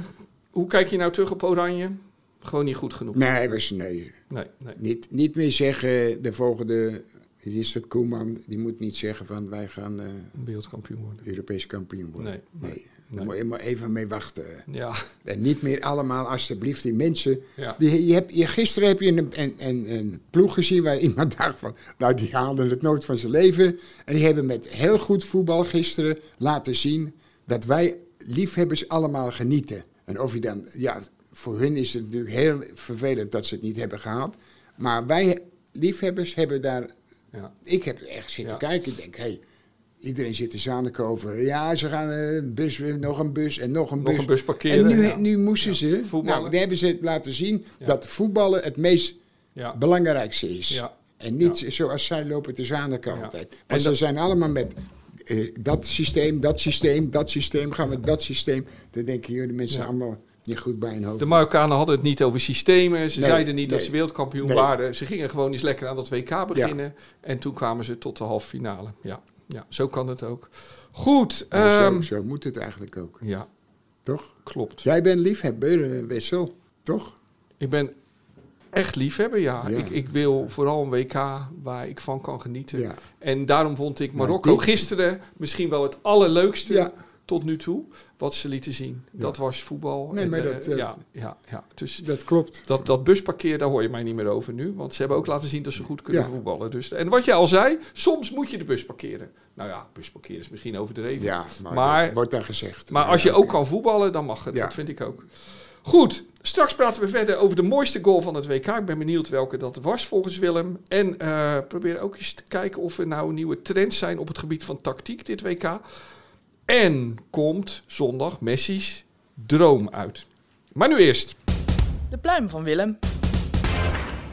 hoe kijk je nou terug op Oranje? Gewoon niet goed genoeg.
Nee, hij was, nee
Nee, nee.
niet, niet meer zeggen, de volgende... Wie is dat, Koeman? Die moet niet zeggen van, wij gaan eh,
Wereldkampioen worden.
Europees kampioen worden. Nee,
Nee,
daar
nee.
moet je maar even mee wachten.
Ja,
En niet meer allemaal, alsjeblieft, die mensen...
ja.
Die, je hebt, je, gisteren heb je een, een, een, een ploeg gezien waar iemand [LAUGHS] dacht van... nou, die haalden het nooit van zijn leven. En die hebben met heel goed voetbal gisteren laten zien... dat wij liefhebbers allemaal genieten. En of je dan... Ja, voor hun is het natuurlijk heel vervelend dat ze het niet hebben gehaald. Maar wij liefhebbers hebben daar...
Ja.
Ik heb echt zitten
Ja.
kijken. Ik denk, hé, hey, iedereen zit te zaniken over... ja, ze gaan eh, een bus, weer, nog een bus en nog een
Nog
bus.
een bus parkeren.
En nu,
ja.
nu moesten ze,
voetballen.
nou, daar hebben ze laten zien
Ja.
dat voetballen het meest
Ja,
belangrijkste is.
ja,
En niet zoals zij lopen te zaniken
Ja.
altijd. Want
En
ze
dat-
zijn allemaal met eh, dat systeem, dat systeem, dat systeem, gaan we dat systeem. Dan denken jullie mensen
Ja.
allemaal niet goed bij hun hoofd.
De Marokkanen hadden het niet over systemen. Ze
Nee,
zeiden niet dat
nee,
ze wereldkampioen
nee.
waren. Ze gingen gewoon eens lekker aan dat WK beginnen. En toen kwamen ze tot de halve finale. Ja, ja zo kan het ook. Goed.
Nou,
ehm,
zo, zo moet het eigenlijk ook,
ja,
toch?
klopt.
Jij bent liefhebber, eh, Wessel, toch?
Ik ben Echt liefhebber, ja.
Ja.
Ik, ik wil vooral een WK waar ik van kan genieten.
Ja.
En daarom vond ik
Maar
Marokko
dit-
gisteren misschien wel het allerleukste
Ja.
tot nu toe. Wat ze lieten zien. Dat was voetbal.
Nee,
En,
maar
eh,
dat, eh,
ja, ja, ja. Dus
Dat klopt.
dat, dat busparkeer, daar hoor je mij niet meer over nu. Want ze hebben ook laten zien dat ze goed kunnen
Ja.
voetballen. Dus, en wat je al zei, soms moet je de bus parkeren. Nou ja, bus parkeren is misschien overdreven.
Ja, maar,
Maar-
dat wordt daar gezegd.
Maar
Ja,
als je
oké.
ook kan voetballen, dan mag het.
Ja.
Dat vind ik ook. Goed, straks praten we verder over de mooiste goal van het WK. Ik ben benieuwd welke dat was volgens Willem. En eh probeer ook eens te kijken of er nou nieuwe trends zijn op het gebied van tactiek dit WK. En komt zondag Messi's droom uit. Maar nu eerst
De pluim van Willem.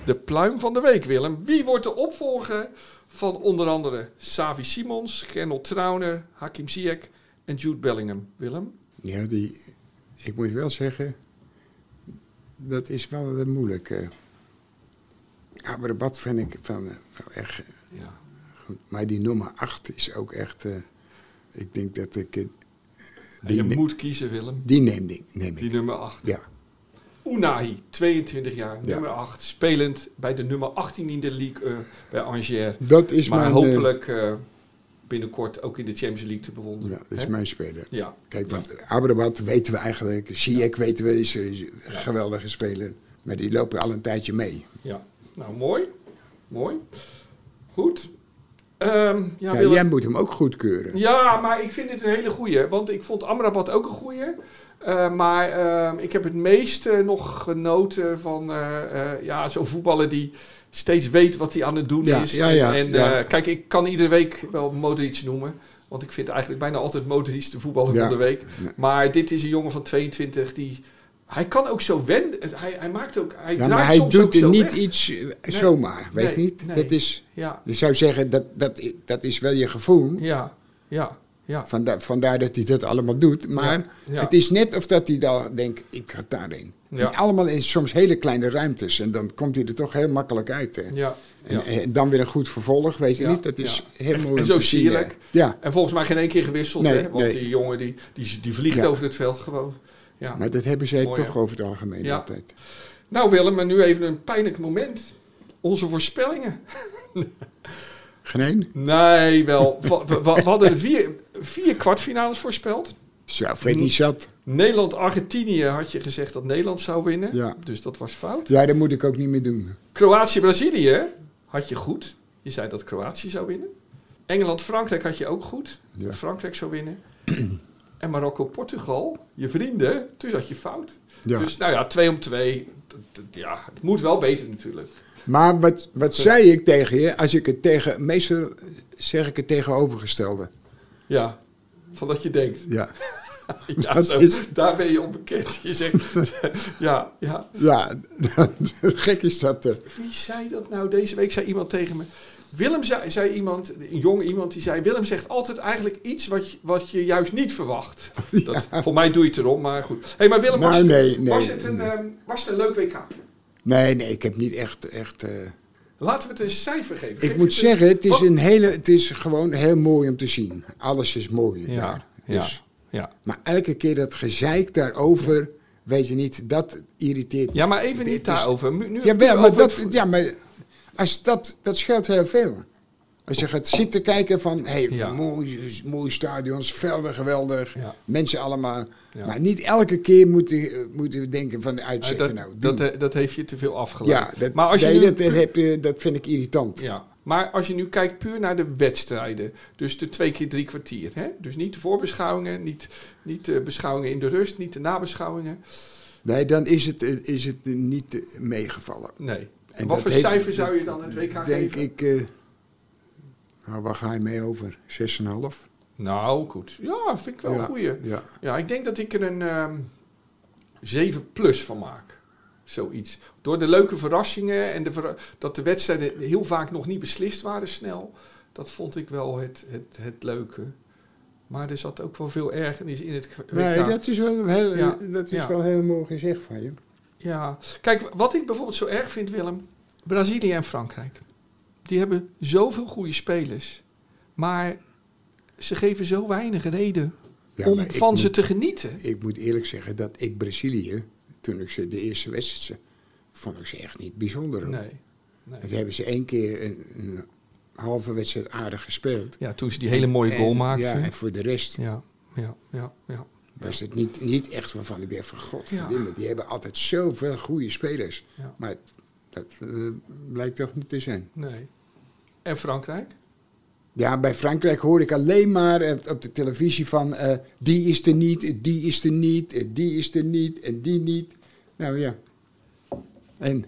de pluim van de week, Willem. Wie wordt de opvolger van onder andere Savi Simons, Gernot Trauner, Hakim Ziyech en Jude Bellingham? Willem?
Ja, die, ik moet wel zeggen, dat is wel eh, moeilijk. eh. Amrabat vind ik van, eh, wel echt eh,
Ja.
goed. Maar die nummer 8 is ook echt... eh, ik denk dat ik... eh,
je
die, ne-
moet kiezen, Willem.
die neem, ik- neem
Die
ik.
nummer 8.
Ja,
Unai, 22 jaar,
Ja.
nummer 8. Spelend bij de nummer 18 in de League eh, bij Angers.
dat is
maar
mijn... eh,
hopelijk eh, binnenkort ook in de Champions League te bewonderen.
ja, dat is
Hè?
mijn speler.
ja.
Kijk, want Amrabat weten we eigenlijk. Ziyech weten we, is is een geweldige speler. Maar die lopen al een tijdje mee.
ja, nou mooi. Mooi. Goed. Ehm, ja,
Ja,
Willem.
jij moet hem ook goedkeuren.
Ja, maar ik vind dit een hele goeie. Want ik vond Amrabat ook een goeie. Eh, maar ehm, ik heb het meeste nog genoten van eh, eh, ja, zo'n voetballer die steeds weet wat hij aan het doen
Ja,
is.
ja, ja,
en eh,
ja.
kijk, ik kan iedere week wel Modric noemen. Want ik vind eigenlijk bijna altijd Modric de voetballer
Ja.
van de week.
Ja.
Maar dit is een jongen van 22 die... Hij kan ook zo wennen. Hij, hij maakt ook... Hij
Ja,
draait
maar hij
soms ook
doet er
zo
niet
weg.
iets eh, zomaar, weet je
Nee,
niet?
nee.
Dat is,
Ja,
je zou zeggen, dat, dat, i- dat is wel je gevoel.
ja, ja, ja.
Vanda- vandaar dat hij dat allemaal doet. Maar
ja.
het is net of dat hij dan denkt, ik ga daarin.
Ja.
En allemaal in soms hele kleine ruimtes. En dan komt hij er toch heel makkelijk uit. Hè.
ja,
En,
ja.
en dan weer een goed vervolg, weet je
Ja,
niet? Dat is heel mooi
en
om
zo
te zien. hè.
sierlijk.
Ja,
En volgens mij geen één keer gewisseld,
Nee,
hè? Want
nee.
die jongen die, die, die vliegt
Ja.
over het veld gewoon. Ja.
maar dat hebben zij
Mooi,
toch
hè?
over het algemeen
Ja.
altijd.
Nou Willem, en nu even een pijnlijk moment. Onze voorspellingen.
Geen één?
Nee, wel. [LAUGHS] We, we- we hadden vier, vier kwartfinales voorspeld.
Zo, weet
Mm.
niet zat.
Nederland-Argentinië had je gezegd dat Nederland zou winnen.
Ja.
Dus dat was fout.
Ja, dat moet ik ook niet meer doen.
Kroatië-Brazilië had je goed. Je zei dat Kroatië zou winnen. Engeland-Frankrijk had je ook goed.
Ja.
Dat Frankrijk zou winnen. [CLEARS THROAT] en Marokko-Portugal, je vrienden, toen zat je fout.
Ja.
Dus nou ja, twee om twee. D- d- Ja, het moet wel beter natuurlijk.
Maar wat, wat zei ik tegen je? Als ik het tegen, meestal zeg ik het tegenovergestelde.
Ja, van dat je
[LAUGHS]
denkt.
Ja,
Ja,
Dat
zo,
is-
Daar ben je onbekend. [LAUGHS] Je zegt, ja, ja.
ja [LAUGHS] gek is dat. eh.
Wie zei dat nou? Deze week zei iemand tegen me. Willem zei, zei iemand, een jong iemand, die zei: Willem zegt altijd eigenlijk iets wat je, wat je juist niet
[LAUGHS]
verwacht. Dat, Voor mij doe je het erom, maar goed. Hé, maar Willem, was,
Nou, nee,
het, was,
nee,
het een,
nee.
ehm, was het een leuk WK?
Nee, nee, ik heb niet echt... echt eh.
Laten we het een cijfer geven. Geef
Ik moet
het een- Oh.
zeggen, het is,
Wat-
een hele, het is gewoon heel mooi om te zien. Alles is mooi
Ja,
daar.
ja,
Dus,
ja.
Maar elke keer dat gezeik daarover, weet je niet, dat irriteert
ja, maar even
Dit
niet
is-
daarover. Nu- nu-
Ja, wel,
nu
maar,
over het
dat,
vo-
ja, maar als dat, dat scheelt heel veel. Als je gaat zitten kijken van, hé, hey,
Ja.
mooi, mooi stadions, velden geweldig,
Ja.
mensen allemaal.
Ja.
Maar niet elke keer moeten eh, moeten we denken van,
Eh,
uitzetten
dat,
nou.
dat,
doen.
eh, dat heeft je te veel afgeleid.
ja, dat,
maar als je
nee,
nu-
dat, dat heb je, dat vind ik irritant.
Ja, maar als je nu kijkt puur naar de wedstrijden, dus de twee keer drie kwartier, hè? dus niet de voorbeschouwingen, niet, niet de beschouwingen in de rust, niet de nabeschouwingen,
Nee, dan is het, eh, is het eh, niet eh, meegevallen.
nee.
En
Wat
dat
voor
heeft-
cijfer zou
dat
je dan het WK
denk
geven?
ik, eh, nou, waar ga je mee over? 6,5?
Nou, goed. Ja, vind ik wel
Ja,
een goeie.
ja.
Ja, ik denk dat ik er een ehm 7 plus van maak. Zoiets. Door de leuke verrassingen en de verra- dat de wedstrijden heel vaak nog niet beslist waren snel. Dat vond ik wel het, het, het leuke. Maar er zat ook wel veel ergernis in het WK.
Nee, dat is, wel, heel,
Ja,
dat is
ja.
wel heel mooi gezegd van je.
Ja, kijk, wat ik bijvoorbeeld zo erg vind, Willem, Brazilië en Frankrijk. Die hebben zoveel goede spelers, maar ze geven zo weinig reden
Ja,
om
maar ik
van ze
moet-
te genieten.
Ik moet eerlijk zeggen dat ik Brazilië, toen ik ze de eerste wedstrijd vond ik ze echt niet bijzonder. hoor.
Nee. nee.
Dat hebben ze één keer een, een halve wedstrijd aardig gespeeld.
Ja, toen ze die hele mooie goal
En-
maakten.
Ja, en voor de rest
Ja, ja, ja, ja.
was het niet, niet echt waarvan ik dacht van god,
Ja.
die hebben altijd zoveel goede spelers.
Ja.
Maar dat eh, blijkt toch niet te zijn.
Nee. En Frankrijk?
Ja, bij Frankrijk hoor ik alleen maar eh, op de televisie van eh, die is er niet, die is er niet, eh, die is er niet en die niet. Nou ja. En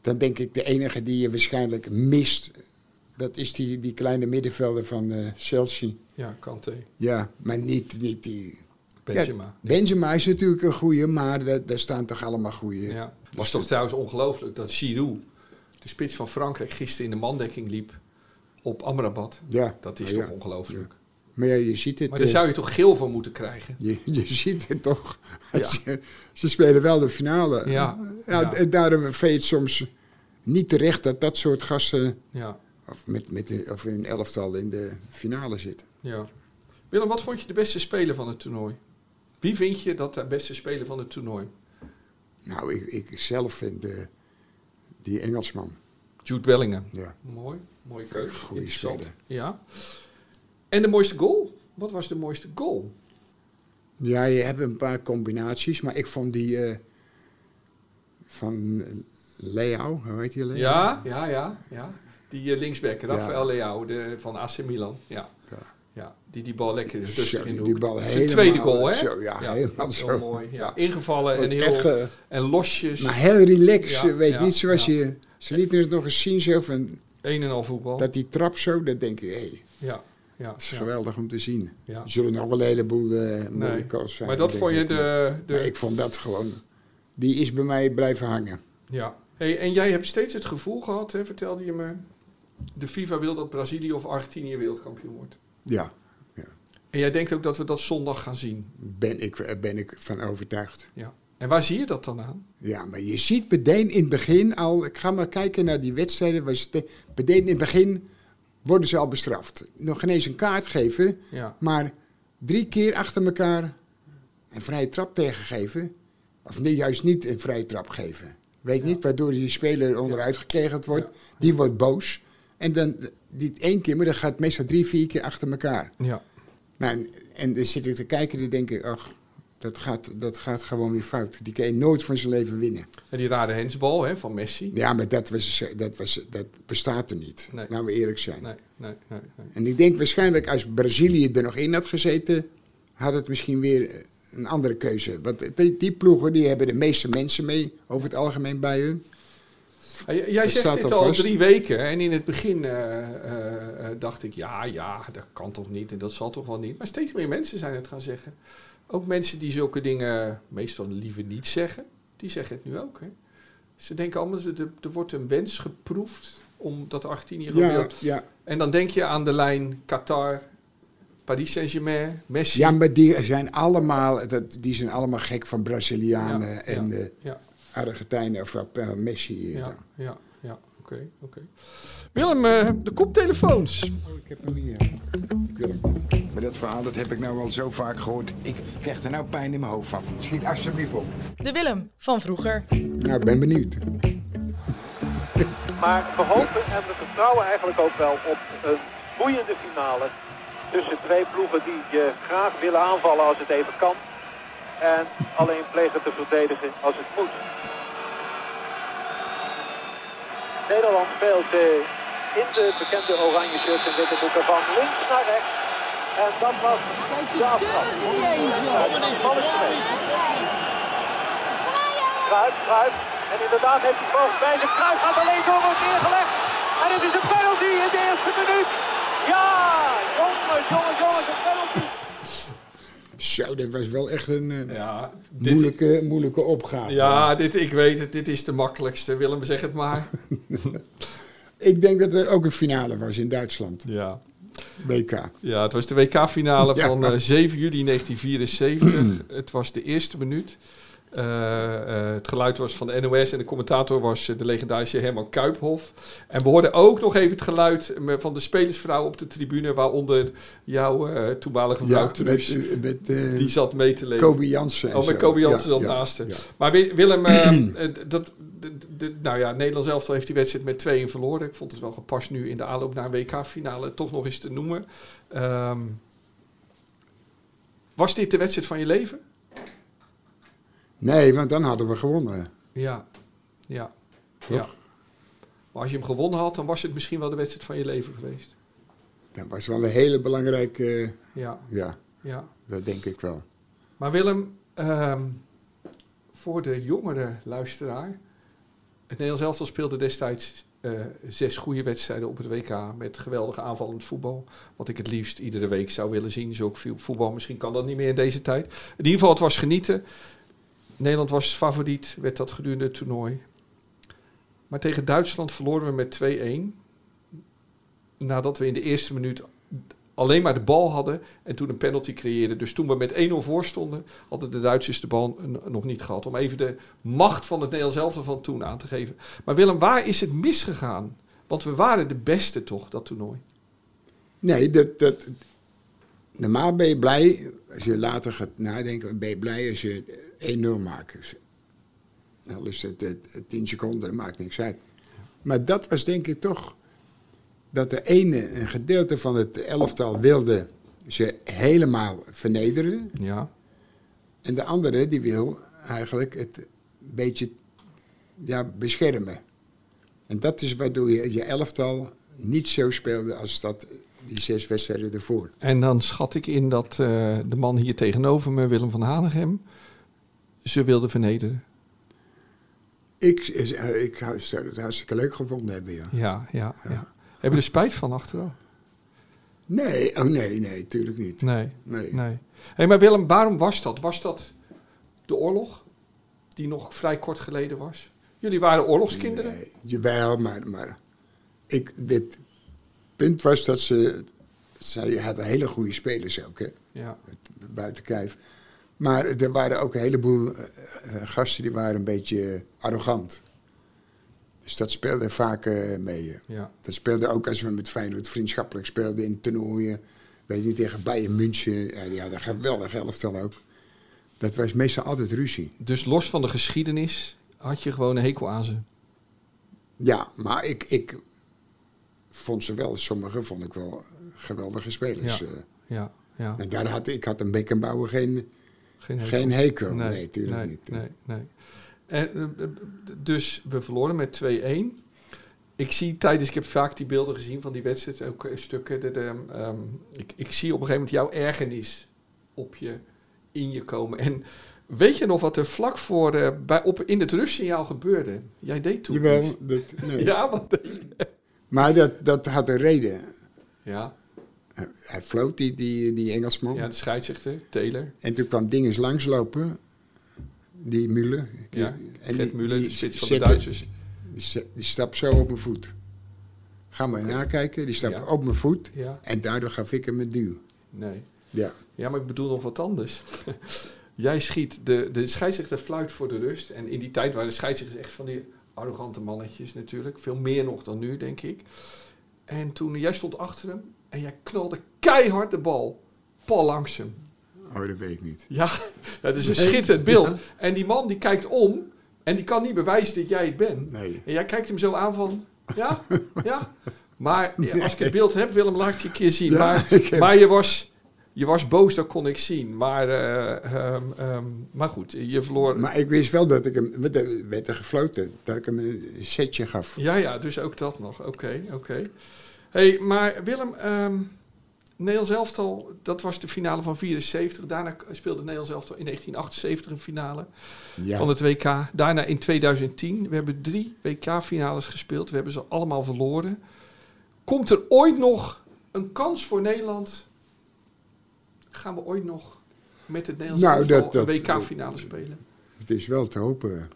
dan denk ik de enige die je waarschijnlijk mist, dat is die, die kleine middenvelder van eh, Chelsea.
Ja, Kanté,
Ja, maar niet, niet die.
Benzema.
Ja, Benzema is natuurlijk een goeie, maar da- daar staan toch allemaal goeie.
Ja. Was toch trouwens ongelooflijk dat Giroud, de spits van Frankrijk, gisteren in de mandekking liep op Amrabat.
Ja,
Dat is
maar ja.
toch ongelooflijk.
Maar ja, je ziet het.
Maar daar
eh,
zou je toch geel voor moeten krijgen?
Je, je [LAUGHS] ziet het toch.
Ja.
Ze, ze spelen wel de finale.
Ja, ja.
En daarom vind je het soms niet terecht dat dat soort gasten
Ja,
of met, met een, of een elftal in de finale zitten.
ja. Willem, wat vond je de beste speler van het toernooi? Wie vind je dat de beste speler van het toernooi?
Nou, ik, ik zelf vind eh, die Engelsman.
Jude Bellingham.
Ja.
Mooi, mooie keuze.
Goeie
Interessant.
speler.
Ja. En de mooiste goal? Wat was de mooiste goal?
ja, je hebt een paar combinaties, maar ik vond die eh, van Leo, hoe heet die Leo?
Ja, ja, ja, ja. Die eh, linksback, Rafael
Ja.
Leao de, van AC Milan. Ja.
Ja.
Ja. die die bal lekker
Zo,
rustig in de hoek.
die bal
Zijn
helemaal
tweede goal, hè?
zo, ja, helemaal
heel
zo.
mooi. Ja.
Ja.
Ingevallen en,
Wordt
heel,
echt, eh,
en losjes.
Maar heel relaxed, eh,
Ja,
weet je
ja,
niet, zoals
ja.
je... Ze lieten het nog eens zien, zo van,
Een en al voetbal.
dat die trap zo, dat denk ik, hé,
ja, ja,
Dat is
ja.
geweldig om te zien.
Ja.
Er zullen nog wel een heleboel eh mooie
Nee.
calls zijn.
Maar dat
denk
vond je
ik.
de...
Maar
de
ik vond dat gewoon... Die is bij mij blijven hangen.
ja. Hey, en jij hebt steeds het gevoel gehad, hè, vertelde je me... De FIFA wil dat Brazilië of Argentinië wereldkampioen wordt.
Ja,
En jij denkt ook dat we dat zondag gaan zien.
ben ik, eh, ben ik van overtuigd.
Ja. En waar zie je dat dan aan?
Ja, maar je ziet meteen in het begin al... Ik ga maar kijken naar die wedstrijden. Waar ze te- meteen in het begin worden ze al bestraft. Nog geen eens een kaart geven.
Ja.
Maar drie keer achter elkaar een vrije trap tegengeven. Of nee, juist niet een vrije trap geven. Weet niet, waardoor die speler onderuit gekegeld wordt.
Ja.
Die wordt boos. En dan die één keer, maar dat gaat meestal drie, vier keer achter elkaar.
Ja.
Nou, en, en dan zit ik te kijken, dan denk ik, ach, dat gaat, dat gaat gewoon weer fout. Die kan je nooit van zijn leven winnen.
En die rare hensbal hè, van Messi.
Ja, maar dat, was, dat, was, dat bestaat er niet.
Nee.
Laten we eerlijk zijn.
Nee, nee, nee. nee.
En ik denk waarschijnlijk als Brazilië er nog in had gezeten, had het misschien weer eh, een andere keuze. Want die, die ploegen die hebben de meeste mensen mee over het algemeen bij hun.
Ah, j- Jij
Dat staat
zegt dit
al
al
vast.
drie weken. En in het begin eh, eh, eh, dacht ik, ja, ja, dat kan toch niet en dat zal toch wel niet. Maar steeds meer mensen zijn het gaan zeggen. Ook mensen die zulke dingen meestal liever niet zeggen, die zeggen het nu ook. Hè. Ze denken allemaal, ze- er, er wordt een wens geproefd omdat Argentinië
Ja,
gebeurt.
ja.
En dan denk je aan de lijn Qatar, Paris Saint-Germain, Messi.
ja, maar die zijn allemaal, dat, die zijn allemaal gek van Brazilianen
Ja,
en eh,
ja.
Argentijnen of eh, Messi. eh,
Ja,
dan.
ja, ja. Oké, oké. Willem, eh, de koptelefoons.
Oh, ik heb hem hier. Ik wil hem.
Maar dat verhaal dat heb ik nou al zo vaak gehoord. Ik krijg er nou pijn in mijn hoofd van.
Schiet alsjeblieft op.
De Willem van vroeger.
Nou, ik ben benieuwd.
Maar we hopen en we vertrouwen eigenlijk ook wel op een boeiende finale. Tussen twee ploegen die je graag willen aanvallen als het even kan. En alleen plegen te verdedigen als het moet. Nederland speelt eh, in de bekende oranje shirt en witte doeken van links naar rechts. En dat was de aftrap. Kruip, Kruip. En inderdaad heeft hij vast bij de Kruip gaat alleen door wordt neergelegd. En het is een penalty in de eerste minuut. Ja, jongens, jongens, jongens, een penalty.
Zo, dat was wel echt een eh,
Ja, dit,
moeilijke, moeilijke opgave.
ja dit, ik weet het, dit is de makkelijkste. Willem, zeg het maar.
Ik denk dat er ook een finale was in Duitsland,
[LAUGHS] Ja,
WK.
ja het was de WK-finale
Ja. [CLEARS THROAT]
van eh, 7 juli 1974. het was de eerste minuut. Eh, eh, het geluid was van de NOS en de commentator was eh, de legendarische Herman Kuiphof. En we hoorden ook nog even het geluid eh, van de spelersvrouw op de tribune, waaronder jouw eh, toenmalige vrouw
Ja,
Truus,
met, met eh,
die zat mee te leven.
Kobe Jansen. en
Oh, maar
zo.
Kobe Jansen
Ja,
zat
ja,
naast hem.
ja.
Maar Wi- Willem,
[CLEARS THROAT]
eh, eh, dat, d- d- nou ja, Nederland zelf heeft die wedstrijd met 2-1 verloren. Ik vond het wel gepast nu in de aanloop naar een WK-finale toch nog eens te noemen. Ehm, was dit de wedstrijd van je leven?
Nee, want dan hadden we gewonnen.
Ja. Ja.
Toch?
ja. Maar als je hem gewonnen had, dan was het misschien wel de wedstrijd van je leven geweest.
Dat was wel een hele belangrijke... eh,
Ja,
ja,
ja.
dat denk ik wel.
Maar Willem, ehm, voor de jongere luisteraar. Het Nederlands elftal speelde destijds eh, zes goede wedstrijden op het WK. Met geweldige aanvallend voetbal. Wat ik het liefst iedere week zou willen zien. Zulk veel voetbal. Misschien kan dat niet meer in deze tijd. In ieder geval, het was genieten. Nederland was favoriet. Werd dat gedurende het toernooi. Maar tegen Duitsland verloren we met 2-1. Nadat we in de eerste minuut alleen maar de bal hadden en toen een penalty creëerden. Dus toen we met 1-0 voor stonden, hadden de Duitsers de bal n- nog niet gehad. Om even de macht van het Nederlands elftal van toen aan te geven. Maar Willem, waar is het misgegaan? Want we waren de beste toch, dat toernooi.
Nee, dat, dat, normaal ben je blij, als je later gaat nadenken, ben je blij als je 1-0 maakt. Dus, al is het, eh, 10 seconden, dat maakt niks uit. Maar dat was denk ik toch dat de ene, een gedeelte van het elftal wilde ze helemaal vernederen.
Ja,
En de andere die wil eigenlijk het een beetje ja, beschermen. En dat is waardoor je je elftal niet zo speelde als dat die zes wedstrijden ervoor.
en dan schat ik in dat eh, de man hier tegenover me, Willem van Hanegem, ze wilde vernederen.
Ik, eh, ik zou het hartstikke leuk gevonden hebben, ja.
Ja, ja, ja. Hebben we er spijt van achteraf?
Nee, oh nee, nee, tuurlijk niet.
Nee.
Nee.
nee. Hey, maar Willem, waarom was dat? Was dat de oorlog die nog vrij kort geleden was? Jullie waren oorlogskinderen?
Nee, jawel, maar, maar ik, dit punt was dat ze, zij hadden hele goede spelers ook, hè.
Ja.
Het- buiten kijf. Maar er waren ook een heleboel eh, eh, gasten die waren een beetje arrogant. Dus dat speelde vaak eh, mee. eh.
Ja.
Dat speelde ook als we met Feyenoord vriendschappelijk speelden in toernooien. Weet je, tegen Bayern München. Ja, die hadden een geweldig elftal ook. Dat was meestal altijd ruzie.
Dus los van de geschiedenis had je gewoon een hekel aan ze.
Ja, maar ik, ik vond ze wel, sommige vond ik wel geweldige spelers.
Ja.
eh.
Ja, ja.
en daar had ik had een Beckenbauer geen,
Geen
geen hekel. Nee, tuurlijk
nee,
niet.
Nee, nee. En, eh, eh, dus we verloren met 2-1. Ik zie tijdens, ik heb vaak die beelden gezien van die wedstrijd, ook eh, stukken. dat, ehm, ehm, ik, ik zie op een gegeven moment jouw ergernis op je, in je komen. En weet je nog wat er vlak voor eh, bij, op, in het rustsignaal gebeurde? Jij deed toen iets.
Jawel, [LAUGHS] dat, nee.
Ja, wat deed je?
Maar dat, dat had een reden.
Ja,
Hij floot, die, die, die Engelsman.
ja, de scheidsrechter, Taylor.
En toen kwam dinges langslopen. Die Müller.
Ja,
en
Gert Müller, de spits van de
zette-
Duitsers.
Die, sta- die stapt zo op mijn voet. Ga maar nakijken. Die stapt
Ja.
op mijn voet.
Ja,
En daardoor gaf ik hem een duw.
nee.
Ja.
Ja, maar ik bedoel nog wat anders. [LAUGHS] Jij schiet, de, de scheidsrechter fluit voor de rust. En in die tijd waren de scheidsrechters echt van die arrogante mannetjes natuurlijk. Veel meer nog dan nu, denk ik. En toen, jij stond achter hem en jij knalde keihard de bal. Pal langs hem.
Oh, dat weet ik niet.
Ja, [LAUGHS] dat is een schitterend beeld. En die man die kijkt om en die kan niet bewijzen dat jij het bent.
Nee.
En jij kijkt hem zo aan van,
[LAUGHS]
ja, ja. Maar ja, als ik het beeld heb, Willem, laat ik het je een keer zien.
Ja,
maar
[LAUGHS] ik heb-
maar je, was, je was boos, dat kon ik zien. Maar, eh, ehm, ehm, maar goed, je verloor...
Maar ik wist wel dat ik hem... want Er werd er gefloten. Dat ik hem een setje gaf.
Ja, ja, dus ook dat nog. Oké, oké. hey, maar Willem, ehm Nederlands elftal, dat was de finale van 74. Daarna k- speelde Nederlands elftal in 1978 een finale.
Ja.
van het WK. Daarna in 2010. We hebben drie WK-finales gespeeld. We hebben ze allemaal verloren. Komt er ooit nog een kans voor Nederland? Gaan we ooit nog met het Nederlands
Nou,
elftal
dat- dat-
een WK-finale spelen?
Het is wel te hopen.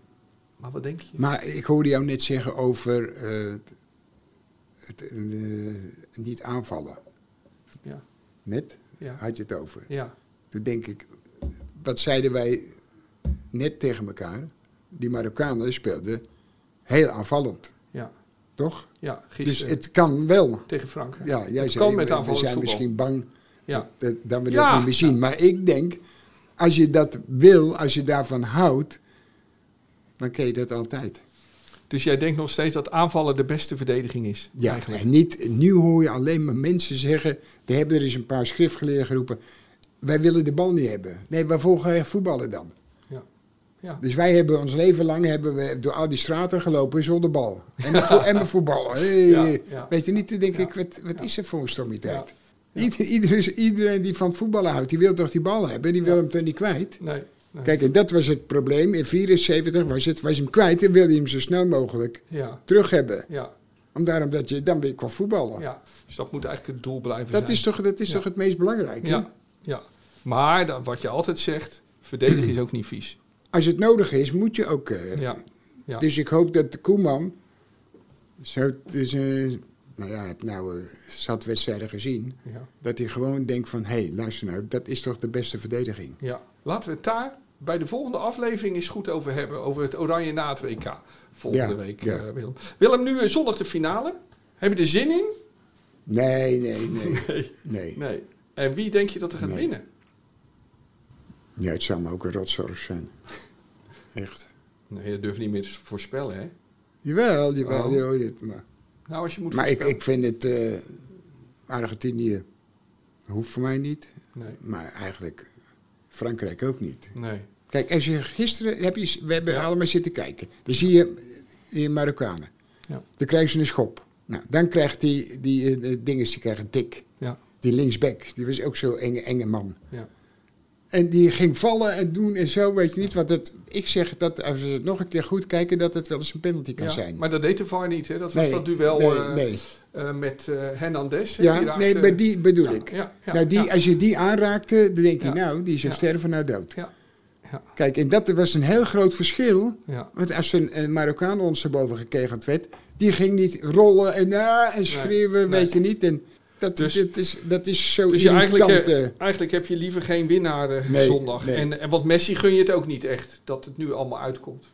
Maar wat denk je?
Maar ik hoorde jou net zeggen over eh, het eh, niet aanvallen.
Ja.
Net
Ja.
had je het over.
Ja,
Toen denk ik, wat zeiden wij net tegen elkaar. Die Marokkanen speelden heel aanvallend,
Ja,
toch?
ja
Dus
gisteren
het kan wel.
tegen Frankrijk.
Ja, jij
eh, Het
zei,
kan met
we- we,
aanvallend
zijn
voetbal.
misschien bang
Ja,
dat, dat we
Ja.
dat niet meer zien. Maar ik denk, als je dat wil, als je daarvan houdt, dan kun je dat altijd.
dus jij denkt nog steeds dat aanvallen de beste verdediging is?
Ja,
eigenlijk.
en niet, nu hoor je alleen maar mensen zeggen, we hebben er eens een paar schriftgeleerden geroepen, wij willen de bal niet hebben. Nee, waarvoor ga je voetballen dan?
Ja. Ja.
Dus wij hebben ons leven lang hebben we door al die straten gelopen zonder bal. En [LAUGHS] we, vo- en we voetballen. Hey,
Ja, ja.
Weet je niet, dan denk ik, wat, wat is er voor een stommiteit? Ieder- ieder- iedereen die van voetballen houdt, die wil toch die bal hebben? Die wil hem toch niet kwijt?
Nee, nee.
Kijk, en dat was het probleem. In 74 was, het, was hij hem kwijt en wilde hij hem zo snel mogelijk
Ja,
terug hebben.
ja,
Om daarom dat je dan weer kon voetballen.
ja. Dus dat moet eigenlijk het doel blijven
Dat
zijn.
is toch, dat is
Ja.
toch het meest belangrijke?
Ja, ja. Maar dan, wat je altijd zegt, verdedigen is ook niet vies.
Als het nodig is, moet je ook. eh,
Ja, ja.
Dus ik hoop dat de Koeman. Zo, dus, eh, nou ja, ik heb nou eh, zat wedstrijden gezien.
ja.
Dat hij gewoon denkt van, hé, hey, luister nou, dat is toch de beste verdediging.
Ja, laten we het daar bij de volgende aflevering eens goed over hebben. Over het Oranje na het WK. Volgende
Ja,
week,
ja.
eh, Willem. Willem, nu eh, zondag de finale. Heb je er zin in?
Nee, nee, nee. nee.
[LAUGHS] Nee. En wie denk je dat er gaat
Nee.
winnen?
Ja, het zou me ook een rotzorg zijn. Echt.
Nee, dat durf je niet meer te voorspellen, hè?
Jawel, jawel.
Oh.
joh, dit, maar
Nou, als je moet
maar ik,
voorspellen.
ik vind het... eh, Argentinië hoeft voor mij niet.
Nee,
Maar eigenlijk Frankrijk ook niet.
nee.
Kijk, als je gisteren heb je, we hebben allemaal zitten kijken. Dan zie je die Marokkanen.
Ja.
Dan krijgen ze een schop. Nou, dan krijgt die, die eh, eh, dinges, die krijgen tik.
Ja,
Die linksback, die was ook zo'n enge, enge man.
ja.
En die ging vallen en doen en zo, weet je niet. Want het, ik zeg dat als we het nog een keer goed kijken, dat het wel eens een penalty kan
ja.
zijn.
Maar dat deed de VAR niet, hè? Dat was dat duel
nee,
eh,
nee.
eh, met eh Hernandez. hè? Die
Ja,
raakte-
nee, maar die bedoel
Ja,
ik.
ja, ja,
nou, die,
ja.
Als je die aanraakte, dan denk je,
Ja.
nou, die is een
Ja.
sterven nou dood.
Ja, ja,
Kijk, en dat was een heel groot verschil
ja.
Want als een, een Marokkaan ons erboven gekegeld werd, die ging niet rollen en, ah, en schreeuwen,
nee.
weet je niet. En dat,
Dus-
dit is, dat is zo
Dus je
irritant.
eigenlijk, eh,
eh.
eigenlijk heb je liever geen winnaar eh,
Nee,
zondag.
nee.
En, en want Messi gun je het ook niet echt dat het nu allemaal uitkomt.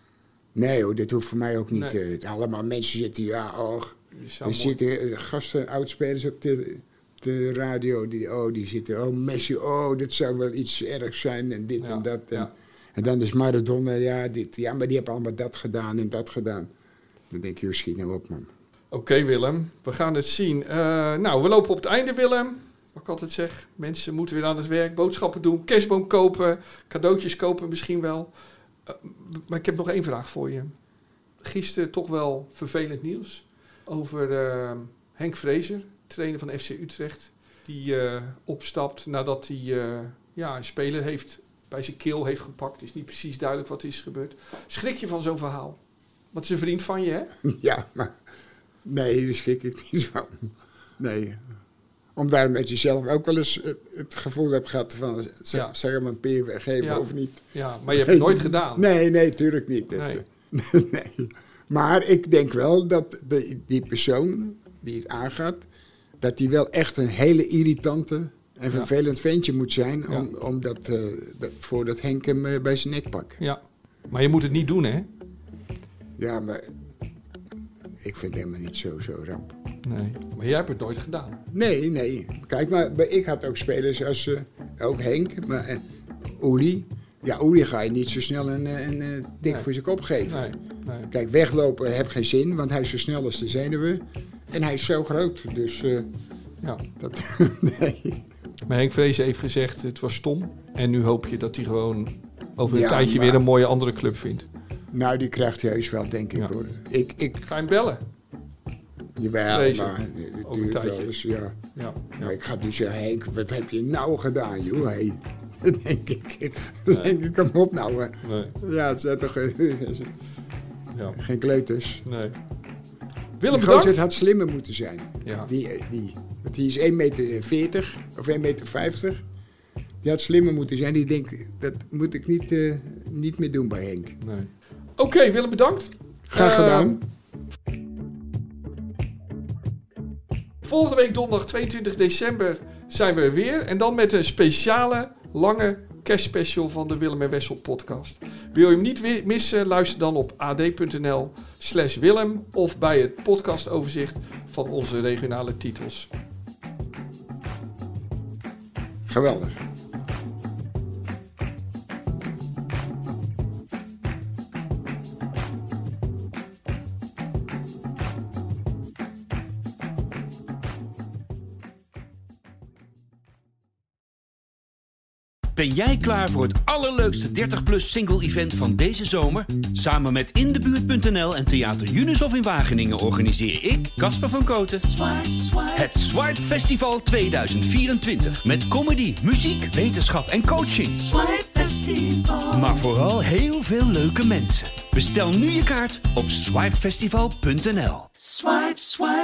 nee hoor, dit hoeft voor mij ook niet.
Nee.
eh, allemaal mensen zitten, ja, och.
Dus zou
Er
mooi-
zitten eh, gasten, oudspelers op de, de radio, die, oh, die zitten, oh, Messi, oh, dit zou wel iets ergs zijn en dit
Ja,
en dat. En,
ja.
en dan is Maradona, ja, dit, ja, maar die hebben allemaal dat gedaan en dat gedaan. Dan denk je, joh, schiet nou op, man. [LAUGHS]
Oké Willem, we gaan het zien. Eh, nou, we lopen op het einde Willem. Wat ik altijd zeg, mensen moeten weer aan het werk. Boodschappen doen, kerstboom kopen, cadeautjes kopen misschien wel. Eh, maar ik heb nog één vraag voor je. Gisteren toch wel vervelend nieuws over eh, Henk Vrezer, trainer van FC Utrecht. Die eh, opstapt nadat hij eh, ja, een speler heeft bij zijn keel heeft gepakt. Het is niet precies duidelijk wat er is gebeurd. Schrik je van zo'n verhaal? Want het is een vriend van je, hè?
Ja, maar nee, daar schrik ik niet van. Nee. Omdat je zelf ook wel eens eh, het gevoel hebt gehad van, z-
Ja.
zou je hem een peer weggeven
Ja.
of niet?
Ja, maar je hebt het nooit gedaan.
Nee, nee, tuurlijk niet. Dat,
Nee.
eh, [LAUGHS] nee. Maar ik denk wel dat de, die persoon die het aangaat, dat die wel echt een hele irritante en vervelend ventje moet zijn, om, om dat, eh, dat- voordat Henk hem eh, bij zijn nek pakt.
Ja, maar je moet het niet doen, hè?
Ja, maar ik vind hem helemaal niet zo, zo ramp.
Nee. Maar jij hebt het nooit gedaan.
Nee, nee. Kijk, maar bij- ik had ook spelers als eh, ook Henk, maar eh, Uli. Ja, Uli ga je niet zo snel een, eh, een, eh, tik
Nee.
voor zijn kop geven.
Nee, nee.
Kijk, weglopen heb geen zin, want hij is zo snel als de zenuwen. En hij is zo groot, dus eh,
Ja.
dat... [LAUGHS] nee.
Maar Henk Vrezen heeft gezegd, het was stom. En nu hoop je dat hij gewoon over een
Ja,
tijdje
maar-
weer een mooie andere club vindt.
Nou, die krijgt hij heus wel, denk ik
Ja.
hoor. Ik, ik,
Ik ga hem bellen.
jawel,
Vrezen.
maar eh, het
Ook een
duurt
tijdje.
wel eens, ja.
Ja,
Maar
ja.
ik ga dus zeggen, Henk, wat heb je nou gedaan, joh, hé? [LAUGHS] Dan denk ik, [LAUGHS] dan denk ik, kom op nou. eh.
Nee,
Ja, het zijn toch eh, [LAUGHS]
ja.
geen kleuters.
Nee.
Die
Willem,
gozer
bedankt.
had slimmer moeten zijn.
Ja.
Die, eh, die, want die is 1,40 meter of 1,50 meter. Die had slimmer moeten zijn. Die denkt, dat moet ik niet, eh, niet meer doen bij Henk.
Nee. Oké, Willem, bedankt.
Graag
Eh,
gedaan.
Volgende week donderdag 22 december zijn we er weer. En dan met een speciale lange kerstspecial van de Willem en Wessel podcast. Wil je hem niet wi- missen? Luister dan op ad.nl slash Willem of bij het podcastoverzicht van onze regionale titels.
Geweldig.
Ben jij klaar voor het allerleukste 30-plus single-event van deze zomer? Samen met Indebuurt.nl en Theater Junushof in Wageningen organiseer ik, Casper van Koten, het Swipe Festival 2024. Met comedy, muziek, wetenschap en coaching. Maar vooral heel veel leuke mensen. Bestel nu je kaart op swipefestival.nl.
Swipe, swipe.